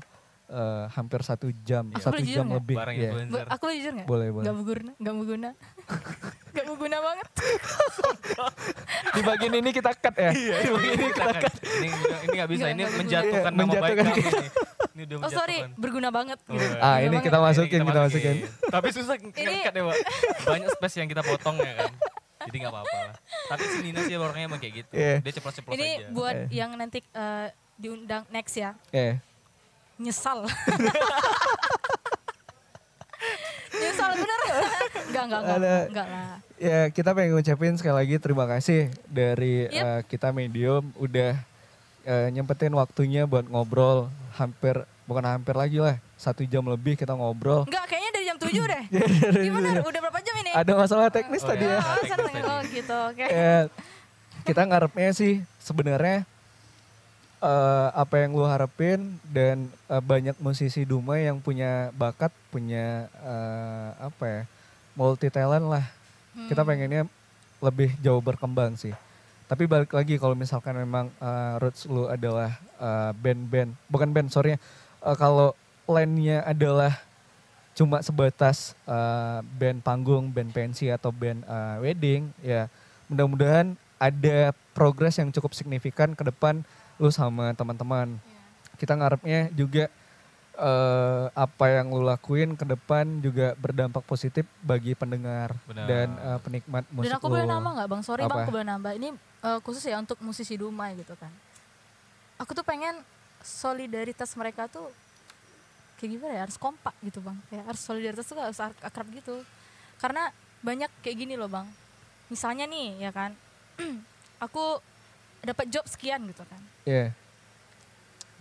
eh, hampir satu jam, ya.
Aku
satu
boleh
jam
jujur nggak?
lebih.
Barang
Iya.
influencer.
Bo- aku jujur gak?
Boleh, boleh.
Gak berguna, gak
[LAUGHS]
berguna. gak berguna banget.
Di bagian ini kita cut ya.
Iya.
Di bagian ini kita cut.
ini udah- ini nggak bisa
Iya, Nggak,
ini
nggak
menjatuhkan
berguna.
nama baik
Menjatuhkan
kami ini. Ini udah
Oh sorry,
menjatuhkan.
berguna banget. gitu.
Oh,
Ah,
Berguna
ini
banget.
kita masukin, kita masukin.
Tapi susah ngekat ya, Pak. Banyak space yang kita potong ya kan. Jadi nggak apa-apa lah. Tapi si Nina sih orangnya emang kayak gitu.
Iya.
Dia ceplos-ceplos
Ini
aja.
buat
Eh.
yang nanti eh, diundang next ya.
Eh,
Nyesal.
[LAUGHS]
Nyesal bener. Enggak, enggak, enggak.
Ada-
Enggak lah.
ya kita pengen ngucapin sekali lagi terima kasih dari
Yep.
eh, kita medium udah eh, nyempetin waktunya buat ngobrol hampir bukan hampir lagi lah satu jam lebih kita ngobrol.
Enggak, kayaknya dari jam 7 deh.
[LAUGHS] dari
Gimana? Udah berapa jam ini?
Ada masalah teknis
Oh,
tadi
iya.
ya.
Oh,
Teknis
seneng.
tadi.
Oh, gitu, oke.
Eh, kita ngarepnya sih sebenarnya eh, apa yang lu harapin dan eh, banyak musisi Dumai yang punya bakat, punya eh, apa ya multi talent lah. Kita pengennya lebih jauh berkembang sih. Tapi balik lagi kalau misalkan memang eh, roots lu adalah eh, band-band, bukan band sorry, Eh, kalau lainnya adalah cuma sebatas eh, band panggung, band pensi atau band eh, wedding ya mudah-mudahan ada progres yang cukup signifikan ke depan lu sama teman-teman.
Iya.
Kita ngarepnya juga eh, apa yang lu lakuin ke depan juga berdampak positif bagi pendengar
Benar.
dan eh, penikmat musik
Dan aku
lu.
boleh nambah nggak bang? Sorry bang,
Apa?
aku boleh nambah. Ini eh, khusus ya untuk musisi Dumai gitu kan. Aku tuh pengen solidaritas mereka tuh kayak gimana ya? Harus kompak gitu bang. Kayak harus solidaritas tuh harus ak- akrab gitu. Karena banyak kayak gini loh bang. Misalnya nih ya kan, [CLEARS THROAT] aku dapat job sekian gitu kan.
Iya.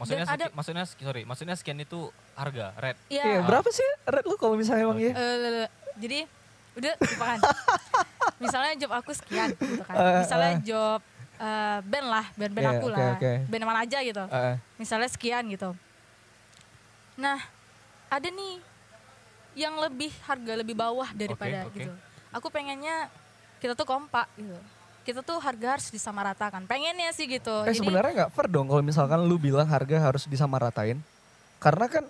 Maksudnya
Dan
seki-
ada-
maksudnya sorry, maksudnya sekian itu harga red.
Iya.
Iya, berapa sih red lu kalau misalnya emang ya?
Eh, lele. jadi udah
[LAUGHS]
lupakan. Misalnya job aku sekian gitu kan.
Eh,
Misalnya
eh.
job eh, band lah, band-band
Iya,
aku
oke,
lah.
oke.
Band mana aja gitu.
Heeh.
Misalnya sekian gitu. Nah, ada nih yang lebih harga lebih bawah daripada
oke.
gitu. Aku pengennya kita tuh kompak gitu. Kita tuh harga harus disamaratakan. Pengennya sih gitu.
Eh
Jadi-
sebenarnya nggak fair dong kalau misalkan lu bilang harga harus disamaratain, karena kan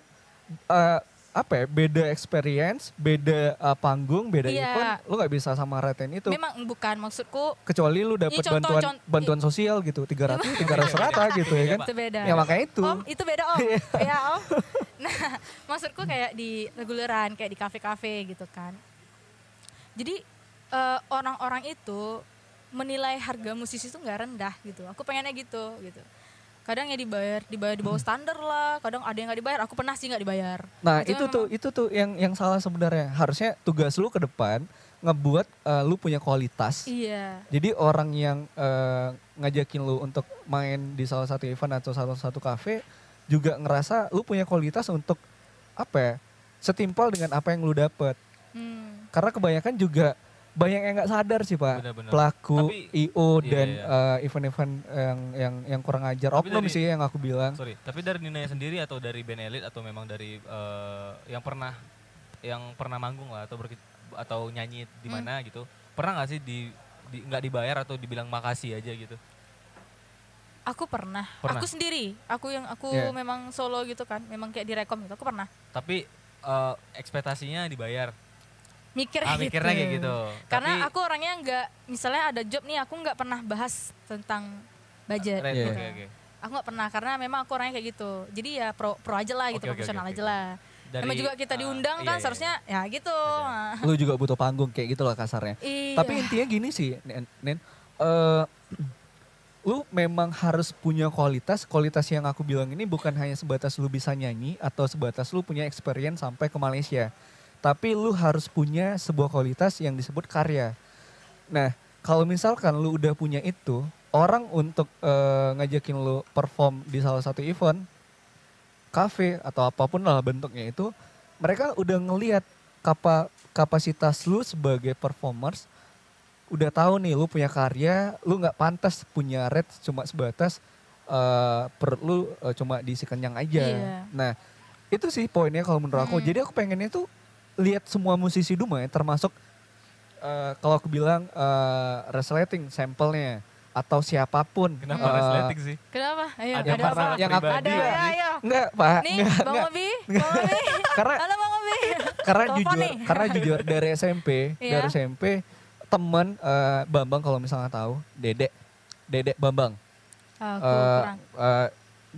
eh, apa ya beda experience, beda eh, panggung, beda
Iya.
event, lu nggak bisa samaratain itu.
memang bukan maksudku
Kecuali lu dapat
Iya, contoh,
bantuan
contoh.
bantuan sosial gitu, 300 300 rata gitu ya kan.
itu beda.
Ya makanya itu.
Om, itu beda
[LAUGHS]
om.
Iya.
ya om. Nah, [LAUGHS] maksudku kayak di reguleran, kayak di kafe-kafe gitu kan. Jadi eh, orang-orang itu menilai harga musisi itu nggak rendah gitu. Aku pengennya gitu gitu. Kadang ya dibayar, dibayar di
Hmm.
bawah standar lah. Kadang ada yang nggak dibayar. Aku pernah sih nggak dibayar.
Nah, itu
Itu
tuh itu tuh yang yang salah sebenarnya. Harusnya tugas lu ke depan ngebuat eh, lu punya kualitas.
Iya.
Jadi orang yang eh, ngajakin lu untuk main di salah satu event atau salah satu kafe juga ngerasa lu punya kualitas untuk apa ya? setimpal dengan apa yang lu dapet.
Hmm.
Karena kebanyakan juga banyak yang nggak sadar sih pak
Benar-benar.
pelaku
Tapi-
IO
Iya,
dan
iya.
eh, event-event yang yang yang kurang ajar
Tapi
oknum
dari-
sih yang aku bilang
Sorry, tapi dari Nina sendiri atau dari band Elite atau memang dari eh, yang pernah yang pernah manggung lah atau berke- atau nyanyi di
Hmm.
mana gitu. Pernah nggak sih di di- nggak dibayar atau dibilang makasih aja gitu.
Aku pernah.
Pernah?
Aku sendiri. Aku yang aku
Iya.
memang solo gitu kan. Memang kayak direkom gitu. Aku pernah.
Tapi eh, ekspektasinya dibayar.
Mikir
Ah,
gitu.
mikirnya kayak gitu.
Karena
Tapi-
aku orangnya nggak misalnya ada job nih aku nggak pernah bahas tentang budget.
Right,
Iya.
oke, oke.
Aku nggak pernah karena memang aku orangnya kayak gitu. Jadi ya pro pro aja lah gitu,
Oke, oke,
profesional
oke,
aja
oke.
lah.
Dari,
Emang juga kita
eh,
diundang
iya,
kan
iya,
seharusnya ya gitu.
Aja.
lu juga butuh panggung kayak gitu lah kasarnya
Iya.
Tapi intinya gini sih, Nen, Nen. Eh, lu memang harus punya kualitas. Kualitas yang aku bilang ini bukan hanya sebatas lu bisa nyanyi atau sebatas lu punya experience sampai ke Malaysia. Tapi lu harus punya sebuah kualitas yang disebut karya. Nah, kalau misalkan lu udah punya itu, orang untuk eh, ngajakin lu perform di salah satu event, cafe atau apapun lah bentuknya itu, mereka udah ngelihat kapa, kapasitas lu sebagai performers udah tahu nih lu punya karya, lu nggak pantas punya rate cuma sebatas eh perut lu eh, cuma diisi kenyang aja.
Iya.
Nah, itu sih poinnya kalau menurut aku.
Hmm.
Jadi aku pengennya tuh lihat semua musisi Dumai termasuk eh, kalau aku bilang eh, resleting sampelnya atau siapapun.
Kenapa
Eh,
resleting sih?
Kenapa? Ayo,
Ada
ada,
yang
apa?
masalah yang aku Iya.
ada,
bilang.
ayo, ayo.
Enggak, eh, Pak.
Nih,
Enggak,
Bang
enggak.
Obi, Bang Obi.
Karena
Halo Bang
[LAUGHS]
Obi.
karena
Telepon
jujur
nih.
karena jujur dari SMP
Iya.
dari SMP temen eh, Bambang kalau misalnya tahu Dedek Dedek Bambang
Aku
Eh,
kurang.
eh,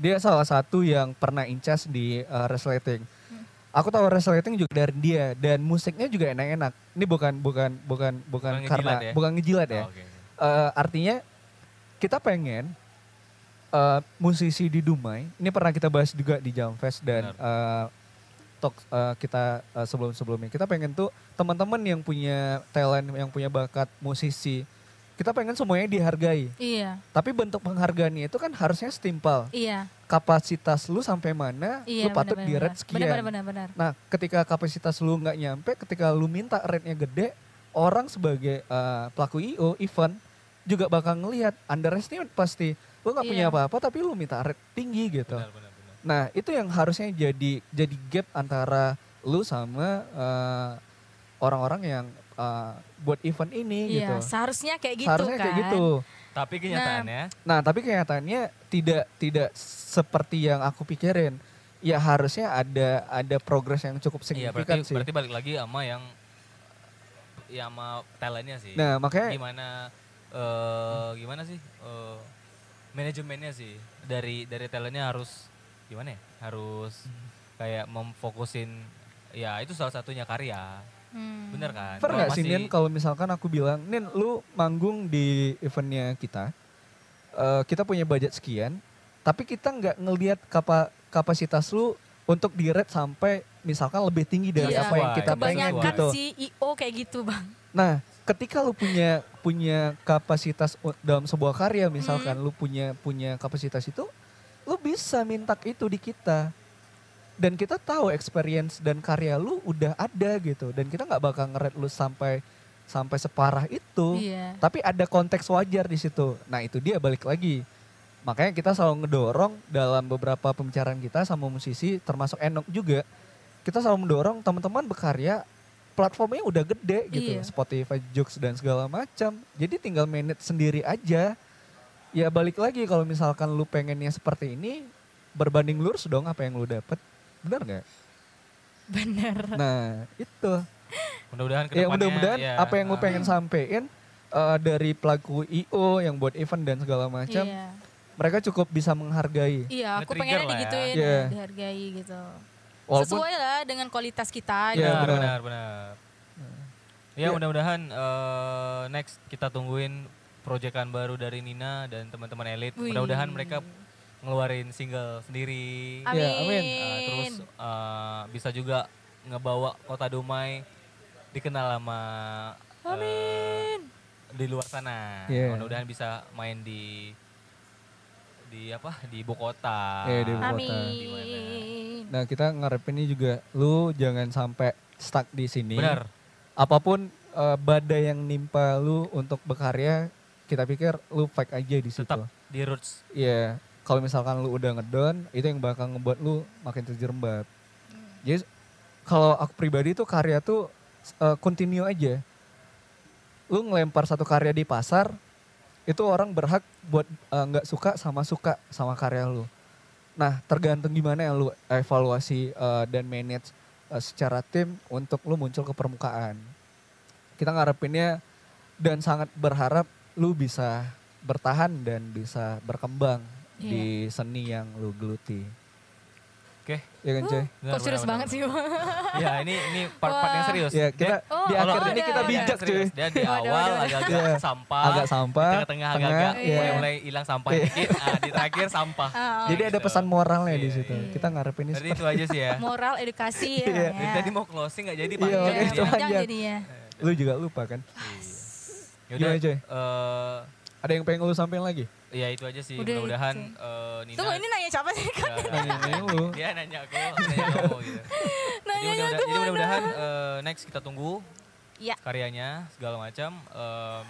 dia salah satu yang pernah incas di eh, resleting
Hmm.
aku tahu resleting juga dari dia dan musiknya juga enak-enak ini bukan bukan bukan bukan,
Bukan
karena
ngejilat ya?
bukan ngejilat ya
Oh, oke.
Eh, artinya kita pengen eh, musisi di Dumai ini pernah kita bahas juga di Jam Fest dan eh, talk eh, kita eh, sebelum-sebelumnya kita pengen tuh teman-teman yang punya talent yang punya bakat musisi kita pengen semuanya dihargai
Iya,
tapi bentuk penghargaannya itu kan harusnya setimpal
iya,
kapasitas lu sampai mana lu
iya.
patut di rate sekian
Benar, benar, benar.
Nah, ketika kapasitas lu nggak nyampe, ketika lu minta rate-nya gede, orang sebagai eh, pelaku IO event juga bakal ngelihat underestimate pasti. Lu nggak punya
Iya.
apa-apa tapi lu minta rate tinggi gitu.
Benar, benar, benar.
Nah, itu yang harusnya jadi jadi gap antara lu sama eh, orang-orang yang eh, buat event ini
Iya,
gitu.
seharusnya kayak gitu
Harusnya
kan.
kayak gitu.
Tapi kenyataannya
Nah, tapi kenyataannya tidak tidak seperti yang aku pikirin. Ya harusnya ada ada progres yang cukup
Iya berarti
signifikan sih.
berarti balik lagi sama yang ya sama talentnya
Iya.
sih.
Nah, makanya
Gimana eh gimana sih eh, manajemennya sih dari dari talentnya harus gimana ya? Harus kayak memfokusin ya itu salah satunya karya.
Hmm.
Bener kan?
Fair
Kalau
gak sih
masih-
Nin kalau misalkan aku bilang, Nin lu manggung di eventnya kita, Eh kita punya budget sekian, tapi kita nggak ngelihat kapa- kapasitas lu untuk di rate sampai misalkan lebih tinggi dari
Iya,
apa yang kita
sesuai.
pengen
Kebanyakan
gitu.
si IO kayak gitu, Bang.
Nah, ketika lu punya punya kapasitas u- dalam sebuah karya misalkan lu punya punya kapasitas itu, lu bisa minta itu di kita. Dan kita tahu experience dan karya lu udah ada gitu dan kita nggak bakal ngeret lu sampai sampai separah itu.
Iya.
Tapi ada konteks wajar di situ. Nah, itu dia balik lagi. Makanya kita selalu ngedorong dalam beberapa pembicaraan kita sama musisi termasuk Enok juga. Kita selalu mendorong teman-teman berkarya platformnya udah gede gitu.
Iya.
Spotify, Joox dan segala macam. Jadi tinggal manage sendiri aja. Ya balik lagi kalau misalkan lu pengennya seperti ini berbanding lurus dong apa yang lu dapet. Benar nggak?
Bener.
Nah itu.
Mudah-mudahan ke
Ya
depannya,
mudah-mudain
ya,
apa yang
eh,
lu pengen sampein eh, dari pelaku IO yang buat event dan segala macam,
Iya.
mereka cukup bisa menghargai.
Iya,
Nge-trigger
aku pengennya
lah ya.
digituin,
Iya.
dihargai gitu.
Walaupun
Sesuai lah dengan kualitas kita
Iya,
gitu.
benar,
benar. Iya.
benar, benar. Ya, mudah-mudahan eh, next kita tungguin proyekan baru dari Nina dan teman-teman elit.
Wih.
Mudah-mudahan mereka ngeluarin single sendiri.
Amin.
Iya, amin.
Eh, terus eh, bisa juga ngebawa Kota Dumai dikenal sama eh, di luar sana.
Iya.
Mudah-mudahan bisa main di di apa? di ibu kota.
Iya, di ibu kota.
Di mana.
Amin.
Nah kita ngarepinnya juga lu jangan sampai stuck di sini.
Benar.
Apapun eh, badai yang nimpa lu untuk berkarya, kita pikir lu fake aja di situ.
Tetap di roots.
Iya, kalau misalkan lu udah ngedown, itu yang bakal ngebuat lu makin terjerembab. Jadi kalau aku pribadi tuh karya tuh eh, continue aja. Lu ngelempar satu karya di pasar, itu orang berhak buat eh, nggak suka sama suka sama karya lu. Nah, tergantung gimana yang lu evaluasi eh, dan manage eh, secara tim untuk lu muncul ke permukaan. Kita ngarepinnya dan sangat berharap lu bisa bertahan dan bisa berkembang
Iya.
di seni yang lu geluti.
Oke.
Ya kan, Coy?
Benar,
Eh, Kok serius
benar,
banget sih?
benar, benar. [LAUGHS] ya ini ini part, part yang serius.
Ya, kita
Dia-
Oh,
di
kalau
akhir
oh,
ini
ada,
kita
ada.
bijak, cuy.
Dia di
Waduh,
awal
waduh,
agak-agak
Iya.
sampah.
Agak sampah,
Di Ah, tengah-tengah agak-agak.
tengah, iya.
Mulai hilang sampah dikit. Nah, di terakhir sampah.
[LAUGHS] Oh.
Jadi ada pesan moralnya di
Iya,
situ.
iya.
Kita ngarepinnya
Jadi
seperti
itu aja sih ya.
[LAUGHS] Moral edukasi
Iya.
ya.
Jadi
ya.
Tadi mau closing nggak jadi
Iya,
panjang.
makanya
Iya,
jadi ya.
panjang.
panjang jadinya.
lu juga lupa kan?
Yaudah,
Gimana, Coy?
eh,
Ada yang pengen lu sampein lagi?
ya itu aja sih.
Udah,
Mudah-mudahan
itu.
eh, Nina.
Tunggu ini nanya siapa sih? [LAUGHS]
Ya, [LAUGHS]
Nanya-nanya lu.
Dia nanya aku, aku nanya kamu gitu. Jadi
Nanyanya
mudah-mudahan, jadi mudah-mudahan eh, next kita tunggu
Iya.
karyanya segala macam. Em,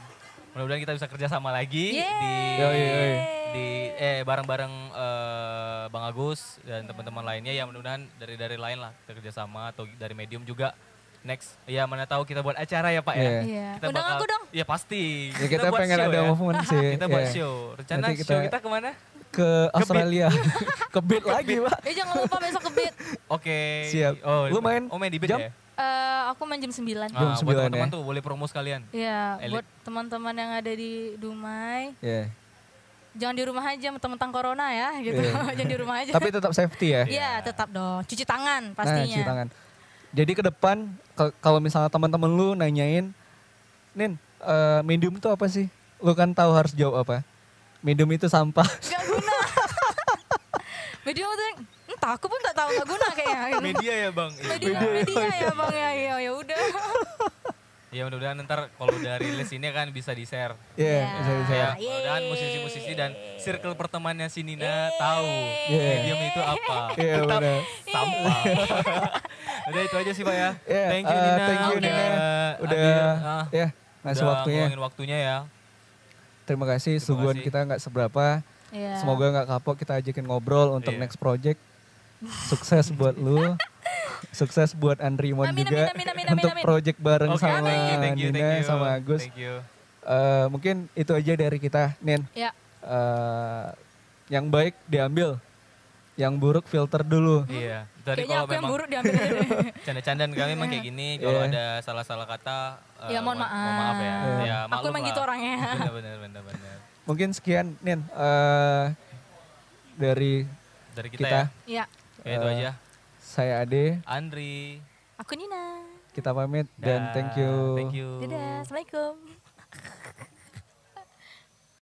mudah-mudahan kita bisa kerja sama lagi di
Yeay.
Yoi, yoi.
di eh bareng-bareng eh, Bang Agus dan teman-teman lainnya ya mudah-mudahan dari dari lain lah kita kerja sama atau dari medium juga next ya mana tahu kita buat acara ya Pak ya.
Iya.
Iya.
Kita
Undang
bakal-
aku dong.
Ya pasti.
Ya kita,
buat
pengen
show
ada
ya.
movement sih.
[LAUGHS] Kita buat
Iya.
show. Rencana
Nanti
show
kita-
kita kemana?
Ke Australia.
[LAUGHS]
Ke beat lagi, Pak.
Eh jangan lupa besok ke beat.
Oke.
Siap.
Oh,
Lu main
Oh main di bed
jam?
ya?
Eh, aku main jam 9.
Jam
Ah, buat
9 ya.
teman-teman tuh boleh promo sekalian.
Ya,
Elit.
buat teman-teman yang ada di Dumai,
Iya.
jangan di rumah aja mentang-mentang corona ya gitu.
Iya.
[LAUGHS] jangan di rumah aja.
Tapi tetap safety ya.
Iya, tetap dong. Cuci
Nah,
tangan pastinya.
cuci tangan. Jadi ke depan kal- kalau misalnya teman-teman lu nanyain, Nin, eh, medium itu apa sih? Lu kan tahu harus jawab apa? Medium itu sampah. [LAUGHS]
Gak guna. [LAUGHS] Media tuh yang, entah aku pun tak tahu gak guna kayaknya.
[LAUGHS]
Media ya bang. Iya,
media,
benar.
media ya bang ya, ya, ya udah.
Ya mudah-mudahan ntar kalau udah rilis ini kan bisa di share.
Iya,
Iya.
bisa bisa.
Ya,
Ah, yeay.
mudah-mudahan musisi-musisi dan circle pertemanannya si Nina tahu
Yeay.
medium itu
[LAUGHS]
apa.
Iya,
Tetap
benar.
sampah. [LAUGHS] Udah itu aja sih Pak ya.
Iya,
Thank you
eh,
Nina.
thank you, Nina.
Udah
Udah
hadir. Ah,
ya, ngasih
udah
waktunya.
ngeluangin waktunya ya.
Terima kasih suguhan
kasih.
kita nggak seberapa.
Iya.
Semoga nggak kapok kita ajakin ngobrol untuk
Iya.
next project. Sukses buat
[LAUGHS]
lu. Sukses buat Andri Mon
Amin,
juga
amin, amin, amin, amin,
untuk
amin.
project bareng
Oke,
sama
thank you, thank you,
Nina
thank you.
sama Agus.
Thank you.
Eh, mungkin itu aja dari kita, Nin.
Ya,
eh yang baik diambil, yang buruk filter dulu.
Iya. Tadi kalau
kayaknya aku yang
memang
buruk diambil aja deh. [LAUGHS]
canda-candaan kami memang kayak gini kalau
Iya.
ada salah-salah kata eh,
Ya, mohon
maaf ya.
maaf.
Ya,
Aku emang gitu
[LAUGHS]
orangnya.
Benar-benar benar-benar.
Mungkin sekian, Nin, eh, dari
Dari kita,
Kita. Eh.
ya.
ya,
Ya itu aja.
saya Ade.
Andri.
aku Nina.
Kita pamit
Dah.
dan thank you.
Thank you.
Dadah, Assalamualaikum.